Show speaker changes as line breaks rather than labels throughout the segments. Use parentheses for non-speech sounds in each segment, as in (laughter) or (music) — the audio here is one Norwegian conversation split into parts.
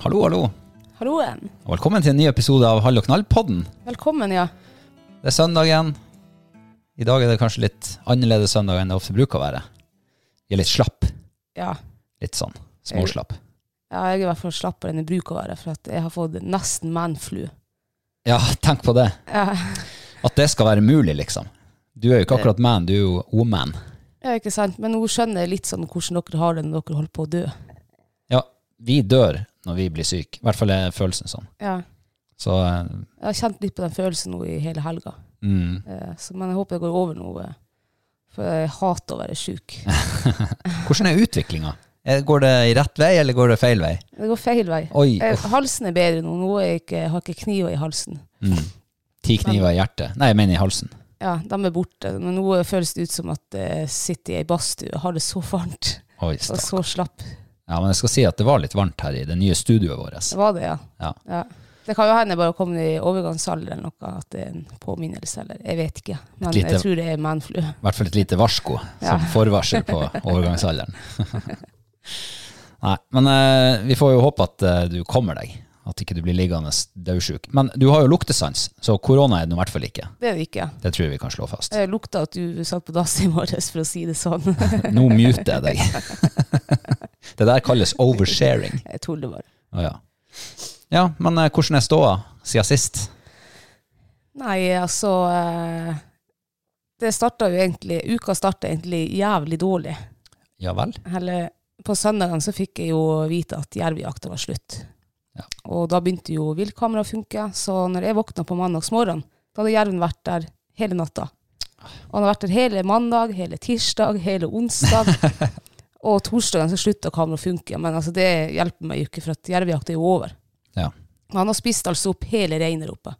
Hallo, hallo.
Halloen.
Og velkommen til en ny episode av Hall og knall-podden.
Velkommen, ja.
Det er søndagen. I dag er det kanskje litt annerledes søndag enn det ofte bruker å være. Vi er litt slapp.
ja.
Litt sånn småslapp.
Ja, jeg er i hvert fall slappere enn jeg bruker å være, for at jeg har fått nesten manflu.
Ja, tenk på det.
Ja.
At det skal være mulig, liksom. Du er jo ikke akkurat man, du er jo o-man.
ja, ikke sant? Men nå skjønner jeg litt sånn hvordan dere har det når dere holder på å dø.
Ja, vi dør når vi blir syke. I hvert fall er følelsen sånn.
Ja.
Så eh,
Jeg har kjent litt på den følelsen nå i hele helga,
mm.
Eh, så, men jeg håper det går over nå. eh, For jeg hater å være sjuk.
Hvordan er utviklinga? Eh, Går det i rett vei, eller går det feil vei?
Det går feil vei.
Oi,
Eh,
uff.
Halsen er bedre nå. Nå er jeg ikke, har jeg ikke kniver i halsen.
Mm. Ti kniver i hjertet. Nei, jeg mener i halsen.
Ja, De er borte. Men nå eh, føles det ut som at jeg sitter i ei badstue og har det så varmt
Oi,
og
stakk.
så slapp.
Ja, men jeg skal si at det var litt varmt her i det nye studioet vårt.
Det var det, ja.
Ja.
Det kan jo hende jeg bare kom i overgangsalder eller noe, at det er en påminnelse, eller jeg vet ikke. Men
lite-
jeg tror det er manflu.
I hvert fall et lite varsko
Ja.
som forvarsel
(laughs)
på overgangsalderen. (laughs) Nei, men eh, vi får jo håpe at eh, du kommer deg. At ikke du blir liggende dødsjuk. Men du har jo luktesans, så korona er det nå i hvert fall ikke.
Det er det ikke.
Det tror jeg vi kan slå
(laughs)
fast.
Det lukta at du satt på dass i morges, for å si det sånn.
Nå muter jeg deg. (laughs) det der kalles oversharing.
Jeg tuller bare.
Å ja. ja, men eh, hvordan er ståa siden sist?
Nei, altså eh, Det starta jo egentlig Uka starta egentlig jævlig dårlig.
Ja vel?
Eller på søndagen så fikk jeg jo vite at jervjakta var slutt.
Ja.
Og da begynte jo viltkameraet å funke, så når jeg våkna på mandagsmorgen, da hadde jerven vært der hele natta. Og han har vært der hele mandag, hele tirsdag, hele
(laughs)
onsdag. og torsdagen så slutta kameraet å funke, men altså det hjelper meg jo ikke, for at jervejakta er jo over.
Ja.
Men han har spist altså opp hele reiner oppe.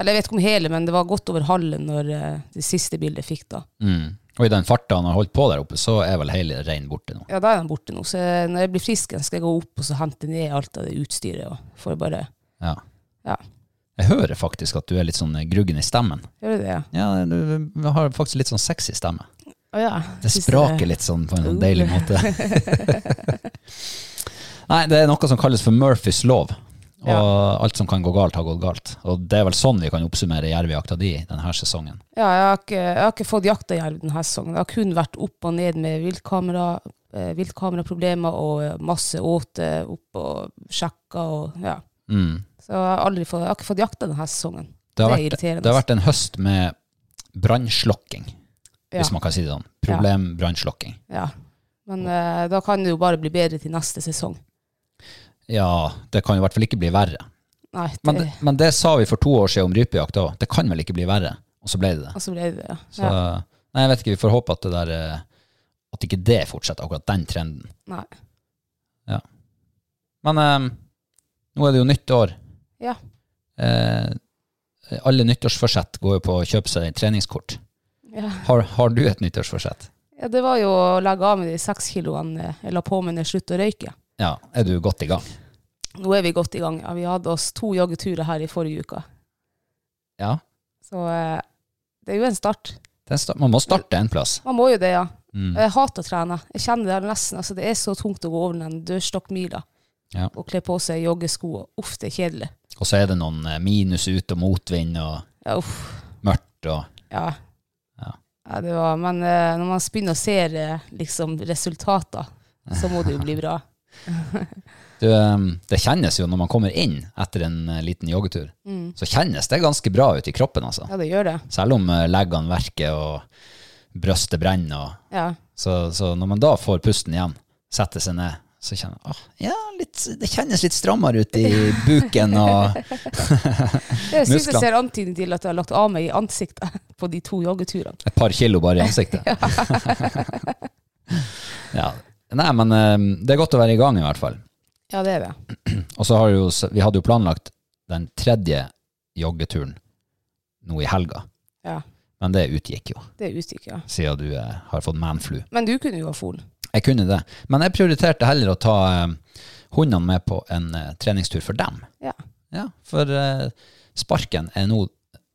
Eller jeg vet ikke om hele, men det var godt over halve når eh, det siste bildet jeg fikk da.
Mm. Og i den farta han har holdt på der oppe, så er vel hele reinen borte nå.
Ja, da er den borte nå. Så jeg- når jeg blir frisk igjen, skal jeg gå opp og så hente ned alt av det utstyret. Og får bare
Ja.
Ja.
Jeg hører faktisk at du er litt sånn eh, gruggen i stemmen.
Gjør du det, ja?
Ja, du du har faktisk litt sånn sexy stemme.
Å ja.
Det spraker litt sånn på en sånn deilig
Uh.
måte. (laughs) Nei, det er noe som kalles for Murphys lov. Og alt som kan gå galt, har gått galt. Og det er vel sånn vi kan oppsummere jervejakta di denne sesongen.
Ja, jeg har ikke, jeg har ikke fått jakta jerv denne sesongen. Det har kun vært opp og ned med viltkamera, eh, viltkameraproblemer og eh, masse åte opp og sjekka og ja.
Mm.
Så jeg har, aldri fått, jeg har ikke fått jakta denne sesongen.
Det, har
Det er
vært,
irriterende. altså.
det har vært en høst med brannslokking,
Ja.
hvis man kan si det sånn. Problem brannslokking.
ja. Men eh, da kan det jo bare bli bedre til neste sesong.
Ja, det kan jo i hvert fall ikke bli verre.
Nei, det,
Men det, men det sa vi for to år siden om rypejakt òg. Det kan vel ikke bli verre? Og så ble det det.
og så ble det det.
Så
Ja.
nei, jeg vet ikke. Vi får håpe at det der eh, At ikke det fortsetter, akkurat den trenden.
Nei.
Men eh, nå er det jo nytt år.
Ja.
Eh, alle nyttårsforsett går jo på å kjøpe seg treningskort.
Ja.
Har, har du et nyttårsforsett?
ja, det var jo å legge av med de seks kiloene jeg la på med når jeg sluttet å røyke.
Ja, er du godt i gang?
Nå er vi godt i gang. Ja, vi hadde oss to joggeturer her i forrige uke.
Ja.
Så eh, det er jo en start.
Den sta- man må starte en plass.
Man må jo det, ja.
Mm.
Jeg hater å trene. Jeg kjenner det nesten. Altså, det er så tungt å gå over den dørstokkmila
Ja.
og kle på seg joggesko. Uff, det er kjedelig.
Og så er det noen eh, minus ut og motvind og
Ja, uff.
mørkt og Ja.
Ja. Ja, det var, men eh, når man begynner å se eh, liksom, resultater, så må det jo bli (laughs) bra.
du, eh, Det kjennes jo når man kommer inn etter en eh, liten joggetur,
Mm.
så kjennes det ganske bra ut i kroppen, altså.
Ja, det gjør det.
Selv om eh, leggene verker og brøstet brenner. Og,
Ja,
så, så når man da får pusten igjen, setter seg ned, så kjenner man ah, ja, litt, det kjennes litt strammere ut i buken. Og,
Jeg syns jeg
Musklene.
ser antydning til at jeg har lagt av meg i ansiktet (laughs) på de to joggeturene.
et par kilo bare i ansiktet. (laughs) ja. Nei, men eh, det er godt å være i gang i hvert fall.
Ja, det er det.
Og så har jo, s- vi hadde jo planlagt den tredje joggeturen nå i helga,
Ja,
men det utgikk jo,
det er utstykke, ja.
siden du eh, har fått manflu.
Men du kunne jo ha foren.
Jeg kunne det, men jeg prioriterte heller å ta eh, hundene med på en eh, treningstur for dem.
Ja.
Ja, for eh, sparken er nå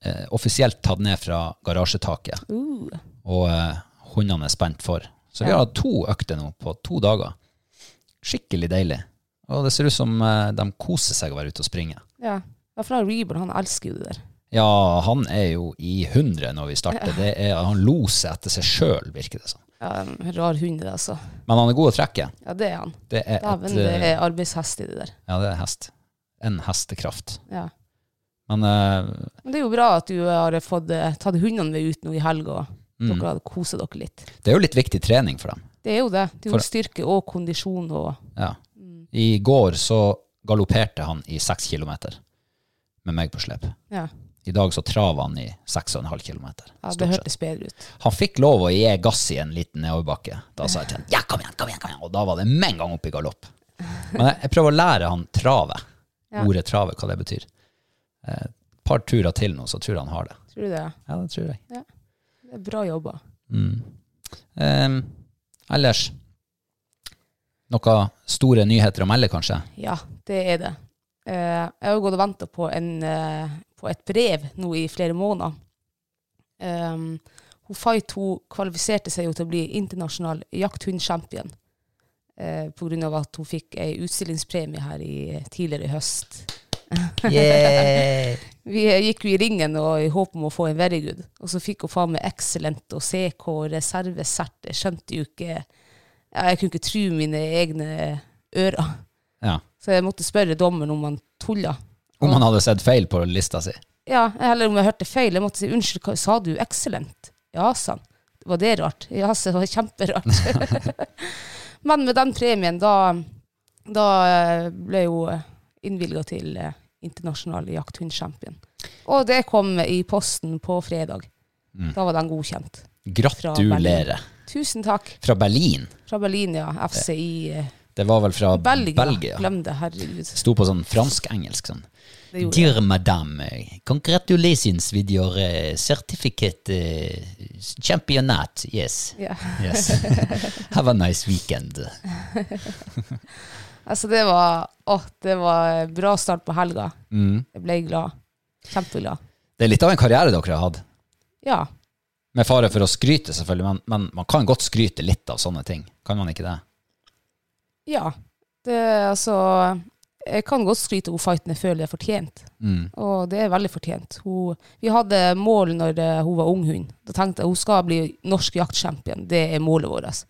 eh, offisielt tatt ned fra garasjetaket,
Uh,
og eh, hundene er spent for. Så vi har hatt to økter nå på to dager. Skikkelig deilig. Og det ser ut som eh, de koser seg å være ute og springe.
ja. Hva for Reeber, han elsker jo det der.
Ja, han er jo i hundre når vi starter. Det er, han loser etter seg sjøl, virker det som.
Ja, en rar hund, det, altså.
Men han er god å trekke.
Ja, det er han.
Det er, et,
Dæven, det
eh,
er arbeidshest i det der.
ja, det er hest. En hestekraft.
Ja.
Men eh,
Men det er jo bra at du har fått eh, tatt hundene med ut nå i helga, og
Mm.
dere har koset dere litt.
det er jo litt viktig trening for dem.
Det er jo det. Det er jo
For-
styrke og kondisjon og
Ja.
Mm.
I går så galopperte han i seks kilometer med meg på slep.
Ja,
I dag så travet han i seks og en halv kilometer.
ja det
stort sett.
hørtes bedre ut.
Han fikk lov å gi gass i en liten nedoverbakke. Da sa jeg til han, ja, kom igjen, kom igjen, kom igjen. Og da var det med en gang opp i galopp. Men jeg, jeg prøver å lære han trave.
Ja.
Ordet trave, hva det betyr. Eh, Et par turer til nå, så tror jeg han har det.
Tror du det?
Ja, det tror jeg.
Det er bra jobba.
Mm. Eh, ellers, noen store nyheter å melde, kanskje?
Ja, det er det. Eh, jeg har jo gått og venta på, en, eh, på et brev nå i flere måneder. Um, hun Fight hun kvalifiserte seg jo til å bli internasjonal jakthundchampion eh, på grunn av at hun fikk ei utstillingspremie her i, tidligere i høst.
Yeah!
Vi eh, gikk jo i ringen og i håp om å få en very good, og så fikk hun faen meg excellent og CK og reservesert. Jeg skjønte jo ikke ja, Jeg kunne ikke tro mine egne ører.
Ja.
Så jeg måtte spørre dommeren om han tulla.
(laughs) Om han hadde sett feil på lista si.
Ja, eller om jeg hørte feil. Jeg måtte si unnskyld, hva, sa du excellent? Ja, sa han. Var det rart? Ja, sa jeg, det var kjemperart. (laughs) Men med den premien, da, da eh, ble jeg jo innvilga til eh, internasjonal jakthundchampion. Og det kom i posten på fredag. Da var den godkjent.
Gratulerer.
Tusen takk.
Fra Berlin.
Fra Berlin, ja. FCI. eh,
Det var vel fra
Belgia.
Belgia.
Glem det, herregud.
Sto på sånn fransk-engelsk sånn.
Det gjorde jeg.
Dear madame, congratulations with your eh, certificate eh, championat. Yes.
Ja. (laughs)
yes. Have a nice weekend.
Altså, det var, å, det var bra start på helga. Jeg ble glad. Kjempeglad.
Mm. Det er litt av en karriere dere har hatt.
Ja.
Med fare for å skryte, selvfølgelig, men, men man kan godt skryte litt av sånne ting. Kan man ikke det?
ja. Det, altså, jeg kan godt skryte av fighten jeg føler jeg har fortjent.
Mm.
Og det er veldig fortjent. Hun, vi hadde mål når eh, hun var ung hund. Da tenkte jeg hun skal bli norsk jaktchampion. Det er målet vårt.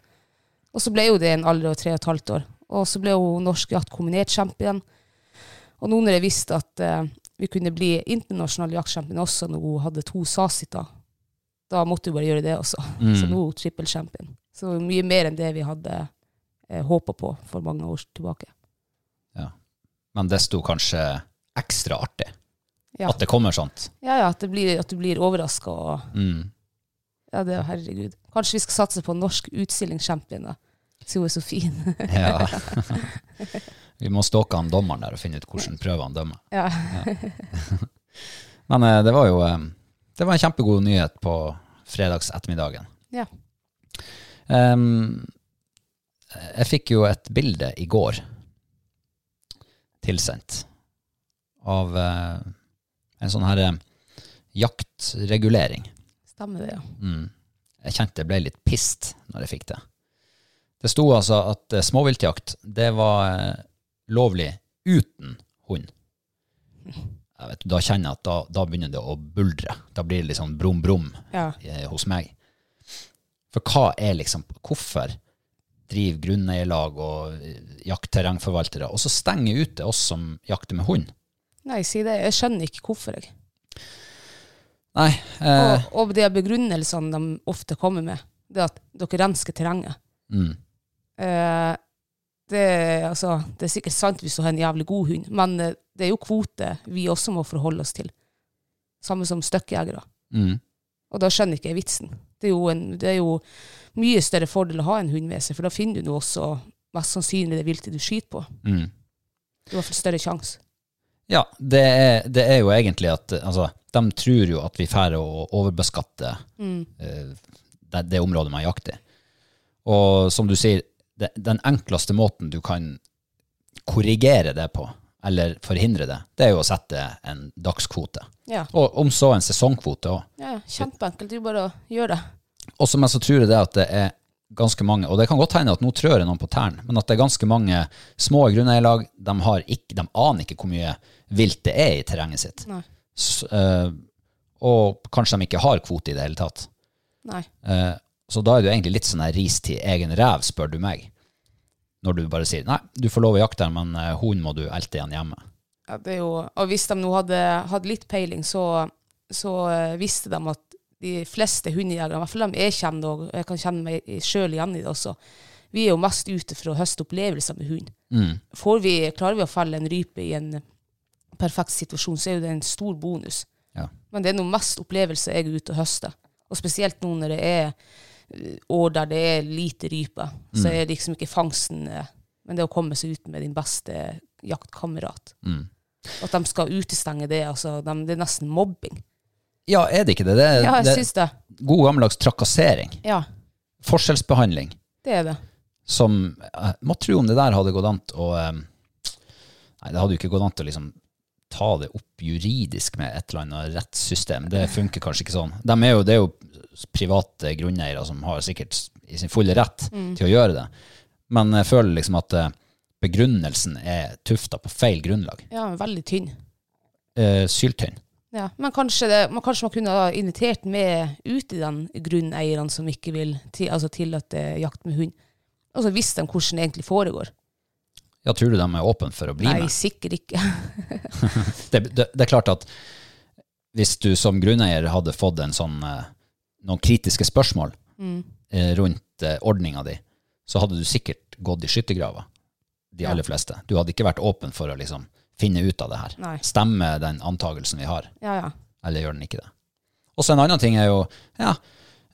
Og så ble jo det en alder av tre og et halvt år. Og så ble hun norsk jaktkombinert champion. Og nå når jeg visste at eh, vi kunne bli internasjonal jaktchampion også når hun hadde to sasiter, da måtte hun bare gjøre det også. Så nå er hun trippelchampion. Så mye mer enn det vi hadde eh, håpa på for mange år tilbake.
Ja. Men desto kanskje ekstra artig
Ja.
at det kommer sånt.
Ja, ja, at det blir, at du blir overraska og
Mm.
Ja, det er herregud. Kanskje vi skal satse på en norsk utstilling Champion, da. Siden hun er så fin. (laughs)
Ja. Vi må stalke han dommeren der og finne ut hvordan prøver han dømmer.
ja.
Men eh, det var jo eh, det var en kjempegod nyhet på fredags ettermiddagen.
ja.
Em, jeg fikk jo et bilde i går tilsendt av eh, en sånn her eh, jaktregulering.
Stemmer det, ja.
Mm. Jeg kjente jeg ble litt pissed når jeg fikk det. Det sto altså at eh, småviltjakt, det var eh, lovlig uten hund. Jeg vet, da kjenner jeg at da, da begynner det å buldre. Da blir det litt sånn brum-brum
Ja.
eh, hos meg. For hva er liksom Hvorfor driver grunneierlag og eh, jaktterrengforvaltere og så stenger ute oss som jakter med hund?
Nei, si det. Jeg skjønner ikke hvorfor, jeg.
Nei. Eh,
Og, og de begrunnelsene de ofte kommer med, det er at dere rensker terrenget.
mm,
Eh, det, er, altså, det er sikkert sant hvis du har en jævlig god hund, men eh, det er jo kvote vi også må forholde oss til. Samme som støkkjegere.
mm,
Og da skjønner ikke jeg vitsen. Det er, jo en, det er jo mye større fordel å ha en hund med seg, for da finner du nå også mest sannsynlig det viltet du skyter på.
mm.
Det er i hvert fall større sjanse.
Ja, det er, det er jo egentlig at eh, altså, de tror jo at vi færre å overbeskatte eh, det, det området man jakter. Og som du sier, det, den enkleste måten du kan korrigere det på, eller forhindre det, det er jo å sette en dagskvote.
Ja.
Og om så en sesongkvote òg.
ja, kjempeenkelt. Det er jo bare å gjøre det.
Og som jeg så tror jeg det at det er ganske mange, og det kan godt hende at nå trør jeg noen på tærne, men at det er ganske mange små grunneierlag, de, har ikke, de aner ikke hvor mye vilt det er i terrenget sitt.
Nei.
S- eh, og kanskje de ikke har kvote i det hele tatt.
Nei.
Eh, så da er det jo egentlig litt sånn her ris til egen ræv, spør du meg. Når du bare sier nei, du får lov å jakte her, men eh, hunden må du elte igjen hjemme.
Ja, det er jo, og hvis de nå hadde hatt litt peiling, så, så eh, visste de at de fleste hundejegere, i hvert fall de jeg kjenner, og jeg kan kjenne meg sjøl igjen i det også, vi er jo mest ute for å høste opplevelser med hund. Får vi, klarer vi å felle en rype i en perfekt situasjon, så er jo det en stor bonus.
Ja.
Men det er noe mest opplevelse jeg er ute og høster. Og spesielt nå når det er eh, år der det er lite rype, så er liksom ikke fangsten eh, Men det å komme seg ut med din beste jaktkamerat. At de skal utestenge det. Altså, de, det er nesten mobbing.
Ja, er det ikke det? Det er,
Ja,
det
jeg syns det.
er god gammeldags trakassering.
Ja,
Forskjellsbehandling.
det er det.
som eh, Må tro om det der hadde gått an å eh, Nei, det hadde jo ikke gått an å liksom ta det opp juridisk med et eller annet rettssystem. Det funker kanskje ikke sånn. De er jo, det er jo private grunneiere som har sikkert i sin fulle rett til å gjøre det. Men jeg føler liksom at eh, begrunnelsen er tufta på feil grunnlag.
Ja, veldig tynn.
Eh, Syltynn.
Ja, men kanskje, det, man, kanskje man kunne ha invitert med ut i den grunneierne som ikke vil til, altså tillate jakt med hund. Og så visste de hvordan det egentlig foregår.
Ja, tror du de er åpne for å bli
Nei,
med?
sikkert ikke. (laughs)
det, det, det er klart at hvis du som grunneier hadde fått en sånn, eh, noen kritiske spørsmål eh, rundt eh, ordninga di, så hadde du sikkert gått i skyttergrava, de aller fleste. Du hadde ikke vært åpen for å liksom, finne ut av det her.
Nei.
Stemmer den antagelsen vi har,
Ja, ja.
eller gjør den ikke det? Og så en annen ting er jo, ja,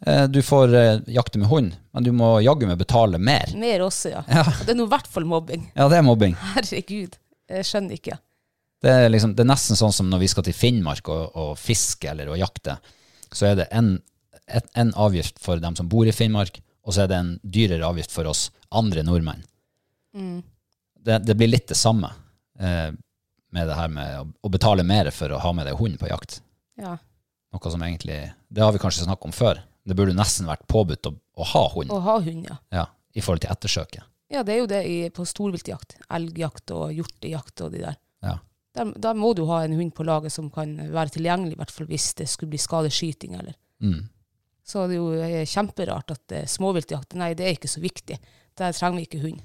eh, du får eh, jakte med hund, men du må jaggu meg betale mer.
Mer også, ja.
Ja.
Og Det er nå i hvert fall mobbing. (laughs)
Ja, det er mobbing.
Herregud. Jeg skjønner ikke.
Det er, liksom, det er nesten sånn som når vi skal til Finnmark og, og fiske eller og jakte, så er det en, et, en avgift for dem som bor i Finnmark, og så er det en dyrere avgift for oss andre nordmenn.
Mm,
Det, det blir litt det samme eh, med det her med å, å betale mer for å ha med deg hund på jakt.
Ja.
Noe som egentlig, Det har vi kanskje snakket om før. Det burde nesten vært påbudt å, å ha hund
Å ha hund, ja.
ja, i forhold til ettersøket.
Ja, det er jo det i, på storviltjakt. Elgjakt og hjortejakt og de der.
Ja.
Da, da må du ha en hund på laget som kan være tilgjengelig, i hvert fall hvis det skulle bli skadeskyting. Eller.
Mm.
Så det er jo eh, kjemperart at eh, småviltjakt nei, det er ikke så viktig. Der trenger vi ikke hund.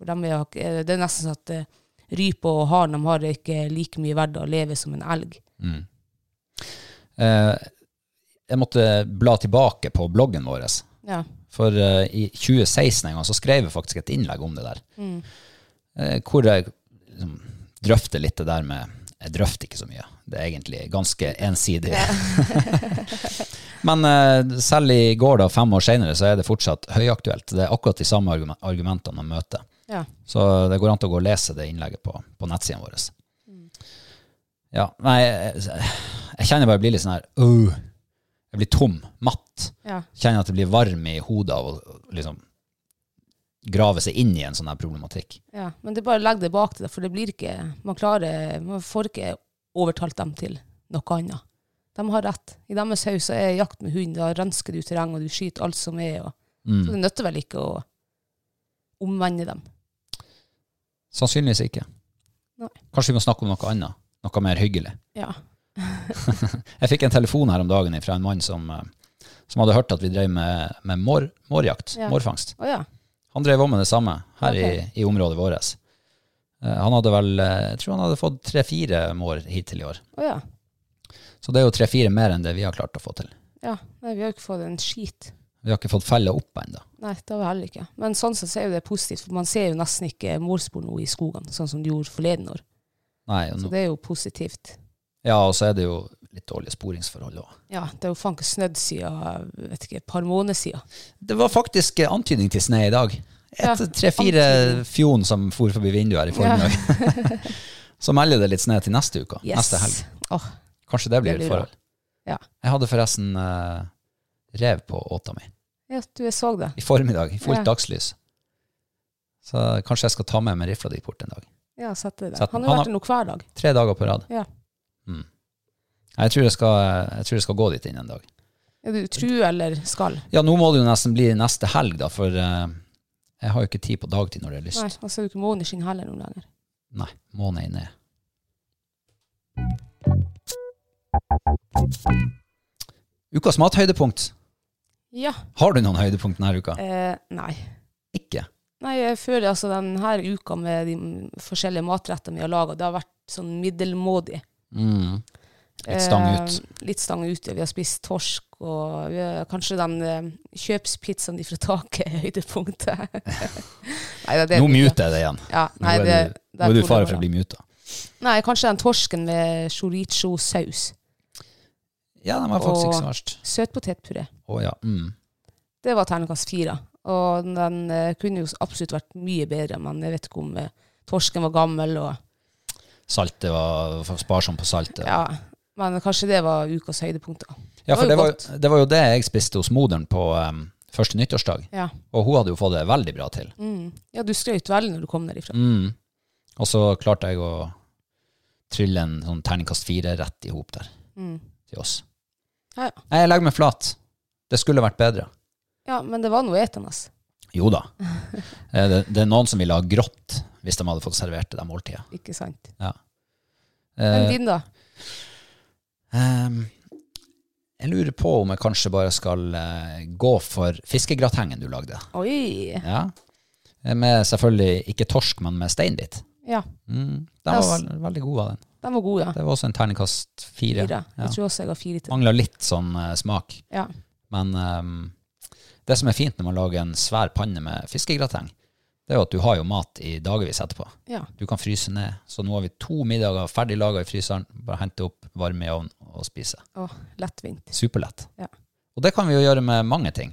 For dem er, jo ikke- eh, det er nesten sånn at eh, rype og haren de har ikke like mye verdt å leve som en elg.
Eh, jeg måtte bla tilbake på bloggen vår.
Ja.
For eh, i 2016 en gang så skrev jeg faktisk et innlegg om det der. Eh, hvor jeg liksom, drøfter litt det der med Jeg drøfter ikke så mye. Det er egentlig ganske ensidig. (laughs) Men eh, selv i går, da, fem år senere, så er det fortsatt høyaktuelt. Det er akkurat de samme argumen- argumentene man møter.
Ja.
Så det går an til å gå og lese det innlegget på, på nettsiden vår. Ja, nei, jeg, jeg kjenner bare jeg blir litt sånn her «Åh». Jeg blir tom, matt.
Ja.
Kjenner at det blir varm i hodet av å liksom grave seg inn i en sånn her problematikk.
ja. Men det er bare å legge det bak deg, for det blir ikke Man klarer Man får ikke overtalt dem til noe annet. De har rett. I deres haus så er jakt med hund. Da rensker du terreng, og du skyter alt som er. Og,
Mm.
Så det nytter vel ikke å omvende dem.
Sannsynligvis ikke.
Nei.
Kanskje vi må snakke om noe annet. Noe mer hyggelig.
Ja.
Jeg fikk en telefon her om dagen fra en mann som, eh, som hadde hørt at vi drev med, med mår, mårjakt,
Ja.
mårfangst.
Å ja.
Han drev òg med det samme her
Ok.
i, i området vårt. Eh, Han hadde vel, eh, jeg tror han hadde fått tre-fire mår hittil i år.
Å ja.
Så det er jo tre-fire mer enn det vi har klart å få til.
ja. Nei, vi har jo ikke fått en skit.
Vi har ikke fått felle opp ennå.
Nei, det har vi heller ikke. Men sånn sett så er jo det positivt, for man ser jo nesten ikke målspor nå i skogene, sånn som du gjorde forleden år.
Nei, og
Så
nå-
det er jo positivt.
Ja, og så er det jo litt dårlige sporingsforhold òg.
Ja, det er jo faen ikke snødd siden jeg vet ikke, et par måneder siden.
Det var faktisk eh, antydning til snø i dag.
Ja,
Et tre-fire
antydning.
fjon som for forbi vinduet her i formiddag. (laughs) så melder det litt snø til neste uke.
Yes.
Neste helg.
Åh,
Kanskje det blir
Det
et
blir bra.
forhold.
Ja.
Jeg hadde forresten eh, rev på åta mi
ja, du jeg så det.
i formiddag, i fullt
Ja.
dagslys. Så kanskje jeg skal ta med meg rifla di bort en dag.
Ja, jeg satte det.
Satt den. Han
Han har
har-
vært der nå hver dag.
Tre dager på rad.
Ja.
Mm. Nei, Jeg, tror jeg, skal, jeg tror jeg skal gå dit inn en dag.
Ja, du tru eller skal?
Ja, nå må det jo nesten bli neste helg, da, for eh, jeg har jo ikke tid på dagtid når jeg har lyst.
Nei, han ser jo ikke måneder siden heller noen lenger.
Nei, måned er ned. Ukas mathøydepunkt.
Ja.
Har du noen høydepunkt denne uka?
Eh, nei.
Ikke.
Nei, jeg føler altså denne uka med de forskjellige matrettene vi har laget, det har vært sånn middelmådig.
Mm. Litt stang ut.
Eh, litt stang ut, ja. Vi har spist torsk, og vi har, kanskje den eh, kjøpspizzaen de fra taket er høydepunktet. (laughs) nei, det er det
Nå
vi-
muter jeg det igjen.
Ja,
Nå
nei,
er
det,
du,
det
nå er du i
to
fare
dager,
for å
da.
bli muta.
Nei, kanskje den torsken med chorizo-saus.
Ja, den var faktisk
Og-
ikke så verst.
Søtpotetpuré.
Å ja. Mm.
Det var terningkast fire. Og den eh, kunne jo absolutt vært mye bedre, men jeg vet ikke om eh, torsken var gammel og
Saltet var var sparsom på saltet. Ja,
Ja. Men kanskje det var ukas høydepunkt, da.
for det
det
var,
var jo
det var jo det jeg spiste hos moderen på em, første nyttårsdag,
Ja.
og hun hadde jo fått det veldig bra til.
Mm. ja, du skrøt veldig når du kom derifra.
Mm. Og så klarte jeg å trylle en sånn terningkast fire rett i hop der
Mm.
til oss.
Ja, ja.
Nei, jeg legger meg flat. Det skulle vært bedre.
ja, men det var noe etende.
Jo
(laughs)
da. Eh, Det, det er noen som ville ha grått hvis de hadde fått servert det der måltidet.
Ikke sant.
Ja.
Men
Eh,
din, da?
em, jeg lurer på om jeg kanskje bare skal eh, gå for fiskegratengen du lagde.
Oi!
Ja. Eh, Med selvfølgelig ikke torsk, men med steinbit.
Ja, Altså-
Mm. Den
Ja,
var
s-
veld, veldig god av den.
den var god, ja.
Det var også en terningkast fire.
Fire.
Ja.
Jeg tror også jeg har fire til.
Mangla litt sånn eh, smak.
Ja.
Men ehm, det som er fint når man lager en svær panne med fiskegrateng, det er jo at du har jo mat i dagevis etterpå.
ja.
Du kan fryse ned. Så nå har vi to middager ferdig laga i fryseren. Bare hente opp, varme i ovnen og spise.
Å, lettvint.
Superlett.
Ja.
Og det kan vi jo gjøre med mange ting.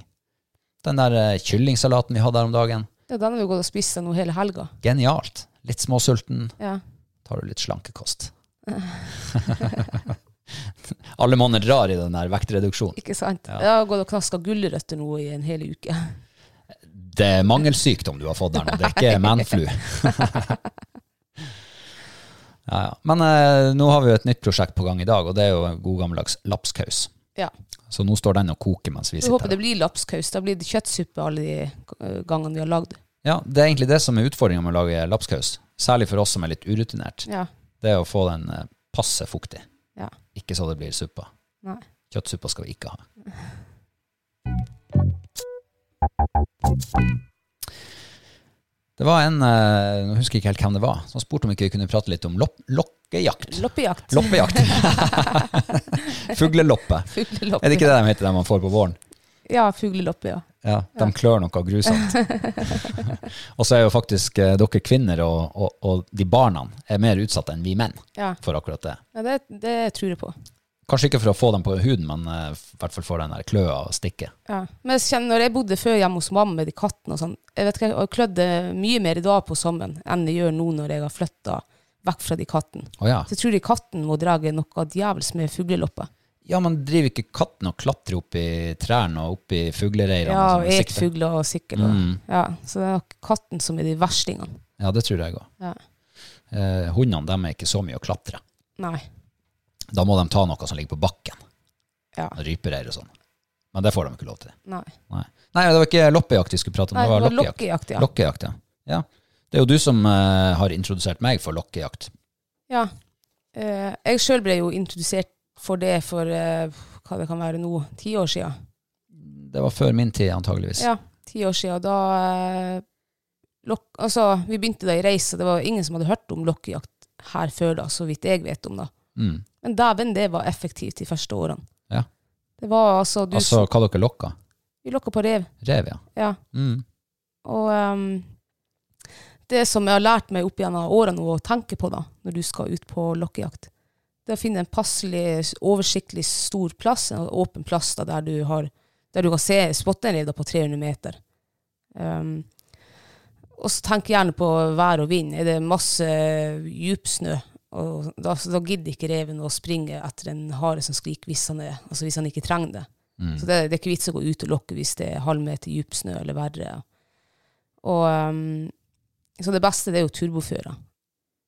Den der eh, kyllingsalaten vi hadde her om dagen.
Ja, den har vi gått og spist nå hele helga.
Genialt. Litt småsulten,
Ja.
tar du litt
(laughs)
slankekost. (laughs) Alle monner drar i den der vektreduksjonen.
Ikke sant?
Ja.
Jeg har gått og knaska gulrøtter nå i en hel
(laughs)
uke.
Det er mangelsykdom du har fått der nå, det er ikke manflu. (laughs) ja, ja. Men eh, nå har vi jo et nytt prosjekt på gang i dag, og det er jo en god gammeldags lapskaus.
Ja.
Så nå står den og koker mens vi
Jeg
sitter
håper
her.
det blir lapskaus. Da blir det kjøttsuppe alle de eh, gangene vi har lagd.
Ja, det er egentlig det som er utfordringa med å lage lapskaus, særlig for oss som er litt urutinert.
Ja.
Det er å få den eh, passe fuktig,
Ja.
ikke så det blir suppa.
Nei.
Kjøttsuppa skal vi ikke ha. Det var en, eh, nå husker jeg ikke helt hvem det var, som spurte om ikke vi kunne prate litt om lopp, lokkejakt.
Loppejakt. (laughs)
Loppejakt. Fugleloppe.
Fugleloppe.
Er det ikke det de heter, de man får på våren?
Ja, fugleloppe, ja.
Ja, de klør noe grusomt. og så er jo faktisk eh, dere kvinner og, og, og de barna er mer utsatt enn vi menn
Ja.
for akkurat det.
Ja, det, det tror jeg på. Kanskje
Kanskje ikke for å få dem på huden, men eh, i hvert fall for den der kløa og stikket.
Ja. Men jeg kjenner, når jeg bodde før hjemme hos mamma med de kattene og sånn, jeg vet ikke, jeg klødde mye mer i dag på sommeren enn jeg gjør nå når jeg har flytta vekk fra de kattene.
Å ja.
Så jeg tror de katten må dra noe djevels med fuglelopper.
Ja, men driver ikke katten og klatrer opp i trærne og opp i fuglereirene?
Ja,
og
og
sånn,
et
sikte? Mm.
fugler og sikkel. Ja, så det er nok katten som er de verstingene.
Ja, det tror jeg òg.
Ja.
Eh, hundene de er ikke så mye å klatre.
Nei.
Da må de ta noe som ligger på bakken.
Ja.
Rypereir og sånn. Men det får de ikke lov til.
Nei.
Nei, Nei det var ikke loppejakt vi skulle prate om.
Nei,
det var lokkejakt.
lokkejakt, ja.
Lokkejakt, ja. ja. Det er jo du som eh, har introdusert meg for lokkejakt.
ja. Eh, jeg sjøl ble jo introdusert for det for eh, hva det kan være nå, ti år sia.
Det var før min tid, antageligvis.
Ja, ti år sia. Da eh, lok, Altså, vi begynte da i reis, og det var ingen som hadde hørt om lokkejakt her før da, så vidt jeg vet om, da.
Mm.
Men dæven, det var effektivt de første årene.
Ja.
Det var altså du,
Altså hva dere lokka?
Vi lokka på rev.
Rev, ja.
Ja.
Mm.
Og ehm, det som jeg har lært meg opp gjennom årene nå å tenke på da, når du skal ut på lokkejakt, det er å finne en passelig, oversiktlig stor plass, en åpen plass da, der, du har, der du kan se spotte en rev da på 300 meter. Ehm, og så tenk gjerne på vær og vind. Er det masse djupsnø, og da, da gidder ikke reven å springe etter en hare som skriker hvis han, er, altså hvis han ikke trenger det.
Mm,
Så det, det er ikke vits å gå ut og lokke hvis det er halv meter djup snø eller verre. Og, ehm, så det beste det er jo turbofører.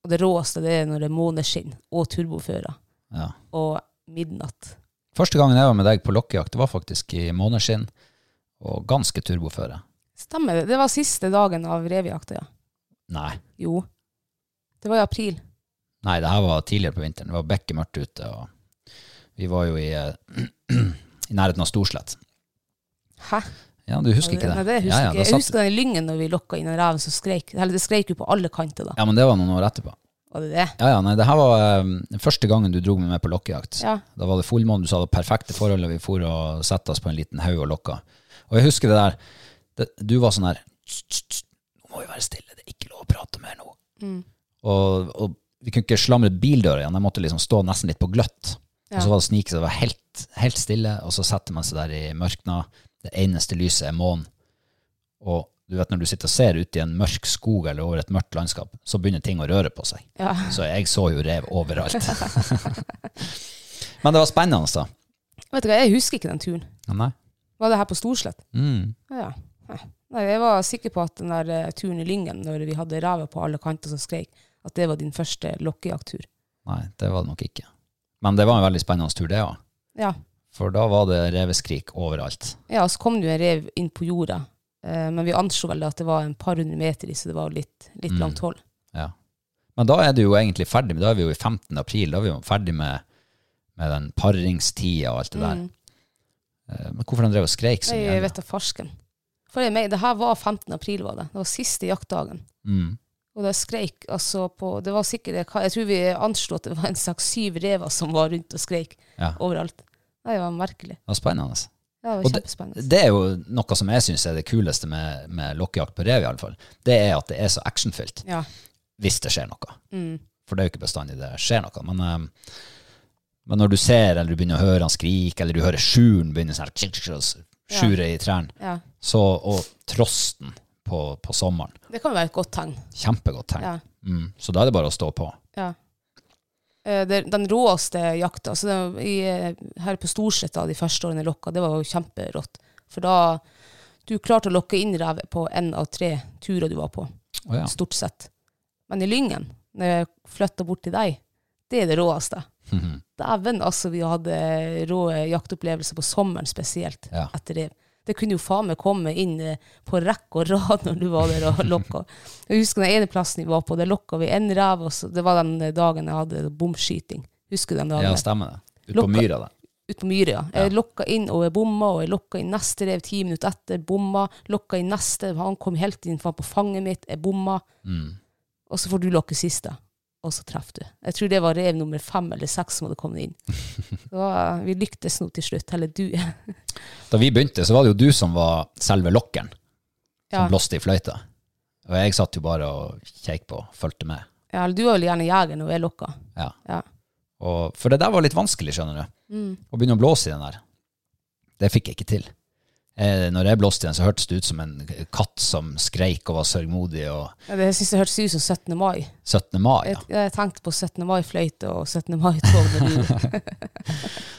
Og det råeste det er når det er måneskinn og turbofører.
ja.
Og midnatt.
Første gangen jeg var med deg på lokkejakt, det var faktisk i måneskinn og ganske turboføre.
Stemmer det? Det var siste dagen av revejakta, ja.
Nei.
Jo. Det var i april.
Nei, det her var tidligere på vinteren. Det var bekket mørkt ute, og vi var jo i, eh, (clears throat) i nærheten av Storslett.
Hæ?
Ja, du husker ikke det?
Nei, det husker
ja, ja,
ikke.
da
Jeg
satt,
husker den lyngen når vi lokka inn den reven som skreik. Eller det skreik jo på alle kanter, da.
ja, men det var noen år etterpå.
Var det det?
Ja, ja, nei, det her var eh, første gangen du dro meg med på lokkejakt.
Ja.
Da var det fullmåne, du sa det perfekte forholdet, vi for og sette oss på en liten haug og lokka. Og jeg husker det der, det, du var sånn her, «Tss, tss, tss, nå må vi være stille, det er ikke lov å prate mer nå. Og, og vi kunne ikke slamre bildøra igjen, jeg måtte liksom stå nesten litt på gløtt. Og så var det snik, så det var helt, helt stille, og så setter man seg der i mørkna, det eneste lyset er månen. Og du vet, når du sitter og ser ut i en mørk skog eller over et mørkt landskap, så begynner ting å røre på seg.
Ja.
Så jeg så jo rev overalt. Men det var spennende, da.
Vet du hva, jeg husker ikke den turen.
Nei.
Var det her på Storslett?
Mm.
Ja. Nei. Nei, jeg var sikker på at den der eh, turen i Lyngen, når vi hadde rever på alle kanter som skreik, at det var din første lokkejakttur.
Nei, det var det nok ikke. Men det var en veldig spennende tur, det òg.
Ja.
For da var det reveskrik overalt.
ja, så kom det jo en rev inn på jorda, eh, men vi anslo vel at det var en par hundre meter i, så det var jo litt, litt
Mm.
langt hold.
Ja. Men da er du jo egentlig ferdig, med- da er vi jo i 15. april, da er vi jo ferdig med, med den paringstida og alt det der. Eh, Men hvorfor han drev og skreik så
Mm. Nei,
mye?
jeg vet da farsken. For jeg meg, det her var 15. april, var det. Det var siste jaktdagen.
Mm.
Og det skreik altså på Det var sikkert Jeg, jeg tror vi anslo at det var en slags syv rever som var rundt og skreik
Ja.
overalt. Nei, det var merkelig.
Det var spennende.
Ja, det
Og
var kjempespennende.
Det er jo noe som jeg syns er det kuleste med, med lokkejakt på rev, i alle fall. Det er at det er så actionfylt.
Ja.
hvis det skjer noe.
Mm.
For det er jo ikke bestandig det skjer noe. Men, eh, men når du ser, eller du begynner å høre han skrike, eller du hører sjuren begynne sånn her, ksk, ksk, ksk, sjure i trærne,
Ja.
så, og trosten på, på sommeren,
Det kan jo være et godt tegn.
kjempegodt tegn.
Ja.
Mm, så da er det bare å stå på.
Ja. Eh, det, den råeste jakta altså det, i, eh, her på Storslett da, de første årene jeg lokka, det var jo kjemperått. For da Du klarte å lokke inn rev på én av tre turer du var på,
Å ja.
stort sett. Men i Lyngen, når jeg flytta bort til deg, det er det råeste.
Mhm.
Dæven, altså, vi hadde rå jaktopplevelser på sommeren spesielt,
Ja.
etter rev. Det kunne jo faen meg komme inn eh, på rekke og rad når du var der og lokka. Jeg husker den ene plassen vi var på, der lokka vi en rev, og så, det var den dagen jeg hadde bomskyting. Husker du den dagen?
ja,
der?
stemmer det. Ut på
Lokka-
myra der.
ut på Myre, ja. Jeg lokka inn og jeg bomma, og jeg lokka inn neste rev ti minutter etter, bomma. Lokka inn
Mm.
neste, han kom helt inn faen, på fanget mitt, jeg bomma. Og så får du lokke siste. og så treffer du. Jeg tror det var rev nummer fem eller seks som hadde kommet inn.
(laughs)
Så eh, vi lyktes nå til slutt, eller du.
Da vi begynte, så var det jo du som var selve lokkeren, som
Ja.
blåste i fløyta. Og jeg satt jo bare og kjekk på og fulgte med.
Ja, eller du var vel gjerne jeger når jeg lokka.
Ja.
Ja.
Og, for det der var litt vanskelig, skjønner du. Å begynne å blåse i den der. Det fikk jeg ikke til. Eh, når jeg blåste i den, så hørtes det ut som en katt som skreik og var sørgmodig. Og
Ja, Det syns jeg hørtes ut som 17. mai.
17. mai,
Jeg,
ja.
jeg tenkte på 17. mai-fløyte og 17. mai-tog. når du-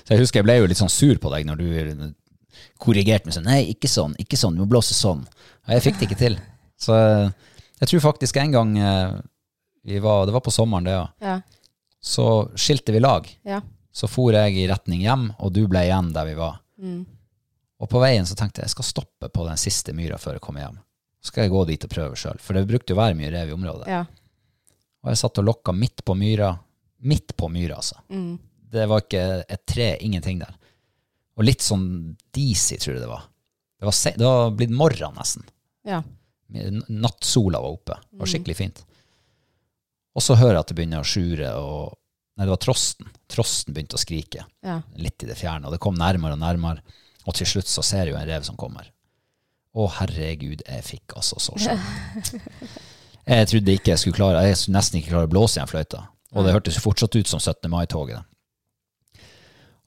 Så jeg husker jeg ble jo litt sånn sur på deg når du korrigerte meg sånn Nei, ikke sånn, ikke sånn, du må blåse sånn. Og jeg fikk det ikke til. Så eh, jeg tror faktisk en gang eh, vi var, Det var på sommeren, det, (laughs) ja.
Ja.
Så skilte vi lag.
ja.
Så for jeg i retning hjem, og du ble igjen der vi var. Og på veien så tenkte jeg jeg skal stoppe på den siste myra før jeg kommer hjem. Så skal jeg gå dit og prøve sjøl, for det brukte jo å være mye rev i området.
ja.
Og jeg satt og lokka midt på myra. Midt på myra, altså. Det var ikke et tre, ingenting der. Og litt sånn disig, tror jeg det var. Det var, se det var blitt morgen, nesten.
ja.
N- Nattsola var oppe. Det var skikkelig fint. Og så hører jeg at det begynner å sjure, og Nei, det var trosten. Trosten begynte å skrike
ja.
litt i det fjerne, og det kom nærmere og nærmere, og til slutt så ser jeg jo en rev som kommer. Å, herregud, jeg fikk altså så sjokk. Jeg trodde ikke jeg skulle klare, jeg skulle nesten ikke klare å blåse i den fløyta, og det hørtes jo fortsatt ut som 17. mai-toget.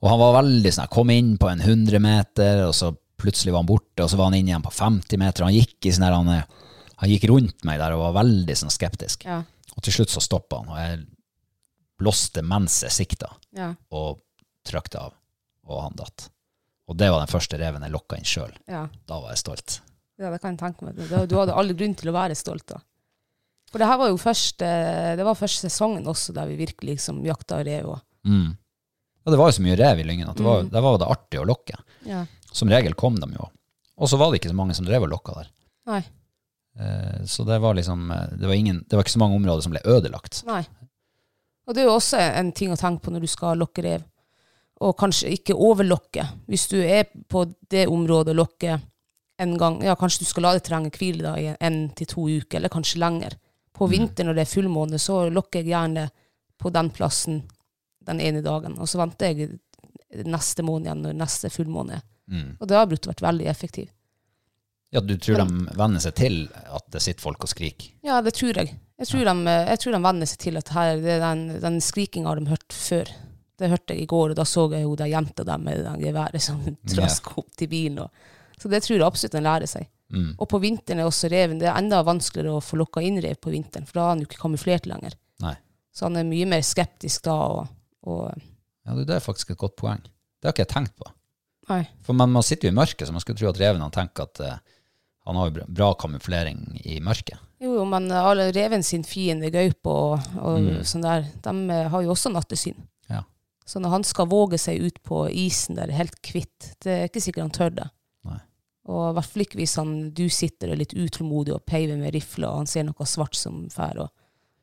Og han var veldig sånn, jeg kom inn på en 100 meter, og så plutselig var han borte, og så var han inn igjen på 50 meter, og han gikk i sånn her, han, han gikk rundt meg der og var veldig sånn skeptisk.
Ja.
Og til slutt så stoppet han, og jeg blåste mens jeg sikta
Ja.
og trakk det av, og han datt. Og det var den første reven jeg lokka inn sjøl.
ja.
Da var jeg stolt.
Ja, det kan jeg tenke meg. Du, du hadde all grunn til å være stolt da. For det her var jo første, det var første sesongen også, der vi virkelig liksom jakta rev. og-
Mm. Og det var jo så mye rev i Lyngen at det var, der var det artig å lokke. Som regel kom de jo. Og så var det ikke så mange som drev og lokka der.
Nei,
Eh, Så det var liksom eh, det var, ingen, det var ikke så mange områder som ble ødelagt.
nei. Og det er jo også en ting å tenke på når du skal lokke rev. Og kanskje ikke overlokke. Hvis du er på det området og lokker en gang, ja, kanskje du skal la det terrenget hvile da i en til to uker, eller kanskje lenger. På vinteren når det er fullmåne, så lokker jeg gjerne på den plassen den ene dagen, og så venter jeg neste måned igjen, når neste fullmåne er.
Mm.
Og det har brutt vært veldig effektiv.
Ja, du tror de venner seg til at det sitter folk og skriker.
Ja, det tror jeg. Jeg tror, de, eh, jeg tror de venner seg til at her, det er den, den skrikinga har de hørt før. Det hørte jeg i går, og da så jeg jo den jenta der med det geværet som (laughs) trask opp til bilen. Og. Så det tror jeg absolutt de lærer seg.
Mm.
Og på vinteren er også reven Det er enda vanskeligere å få lokka inn rev på vinteren, for da er han jo ikke kamuflert lenger.
Nei.
Så han er mye mer skeptisk da. Og, og,
Ja, du, det er faktisk et godt poeng. Det har ikke jeg tenkt på.
nei.
For man, man sitter jo i mørket, så man skulle tro at reven han tenker at eh, han har jo bra- bra kamuflering i mørket.
Jo, jo, men alle reven sin fiende, gaupe og, og sånn der, de eh, har jo også nattesyn.
Ja.
Så når Sånn han skal våge seg ut på isen der helt kvitt, det er ikke sikkert han tør det.
Nei.
Og i hvert fall ikke hvis han, du sitter og er litt utålmodig og peiver med rifle, og han ser noe svart som fær, og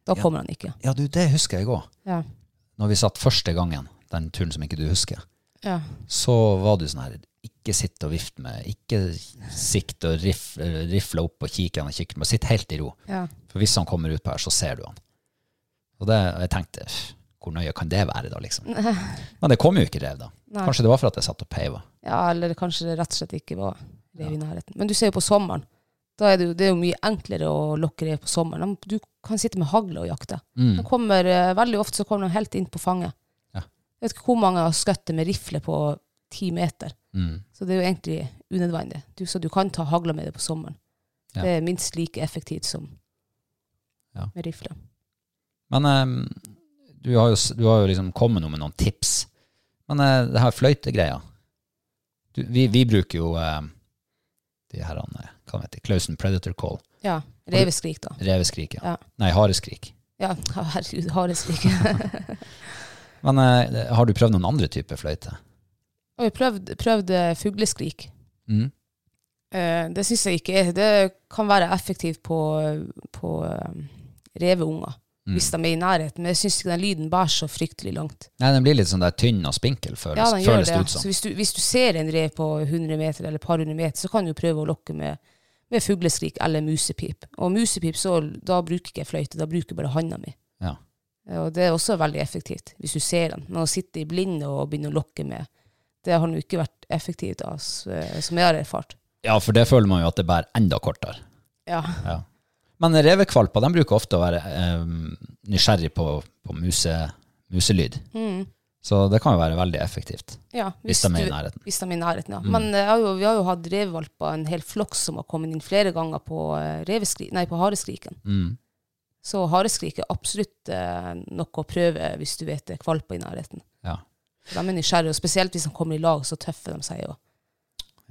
da kommer han ikke.
Ja, du, det husker jeg òg.
Ja.
Når vi satt første gangen, den turen som ikke du husker,
Ja.
så var du sånn her Ikke sitt og vift med, ikke sikt og rif- rifle opp og kikke gjennom kikken, men sitt helt i ro.
Ja. (laughs)
For hvis han kommer utpå her, så ser du han. Og det, og jeg tenkte "Pff, hvor nøye kan det være, da, liksom? Men det kom jo ikke rev, da.
Nei.
Kanskje det var for at jeg satt og peiva.
eller kanskje det rett og slett ikke var rev i nærheten. Men du ser jo på sommeren. Da er det, jo, det er jo mye enklere å lokke rev på sommeren. De- Du kan sitte med hagle og jakte.
Mm,
De kommer, eh, veldig ofte så kommer de helt inn på fanget.
Ja.
Jeg vet ikke hvor mange har skutt med rifle på ti meter.
Mm.
Så det er jo egentlig unødvendig. Du, så du kan ta hagla med det på sommeren.
Ja.
Det er minst like effektivt som
Ja.
med rifle.
Men eh, du, har jo, s- du har jo liksom kommet noe med noen tips. Men eh, det her fløytegreia du, vi, vi bruker jo eh, de her han, eh, hva heter det, Klausen Predator Call.
Ja. Reveskrik, da.
Reveskrik, ja.
Ja.
Nei, hareskrik.
Ja, (laughs) herregud,
(laughs)
hareskrik.
Men eh, har du prøvd noen andre typer fløyte?
Og jeg prøvde, prøvde eh, fugleskrik.
Mm.
Eh, det syns jeg ikke er Det kan være effektivt på, på eh, reveunger,
mm.
hvis de er i nærheten. Men jeg syns ikke den lyden bærer så fryktelig langt.
Nei, den blir litt sånn der tynn og spinkel, føles,
Ja, den gjør
føles
det.
det ut
Så
som.
hvis du, hvis du ser en rev på 100 meter eller et par hundre meter, så kan du prøve å lokke med, med fugleskrik eller musepip. Og musepip, så, da bruker ikke jeg fløyte, da bruker jeg bare handa mi.
Ja.
Eh, Og det er også veldig effektivt, hvis du ser den. Men å sitte i blind og begynne å lokke med, det har nå ikke vært effektivt, altså, eh, som jeg har erfart.
Ja, for det føler man jo at det bærer enda kortere.
Ja.
Ja. Men revekvalper de bruker ofte å være eh, nysgjerrig på, på muse, muselyd. Så det kan jo være veldig effektivt.
Mm. Ja,
Hvis de er i Mm.
du-
nærheten.
Hvis de er i nærheten, ja. Men eh, jeg har jo, vi har jo hatt revvalper, en hel flokk som har kommet inn flere ganger på, eh, reveskri- nei, på hareskriken.
Mm.
Så hareskrik er absolutt eh, noe å prøve hvis du vet det er kvalper i nærheten.
Ja,
De er nysgjerrige, og spesielt hvis de kommer i lag, så tøffer de seg jo.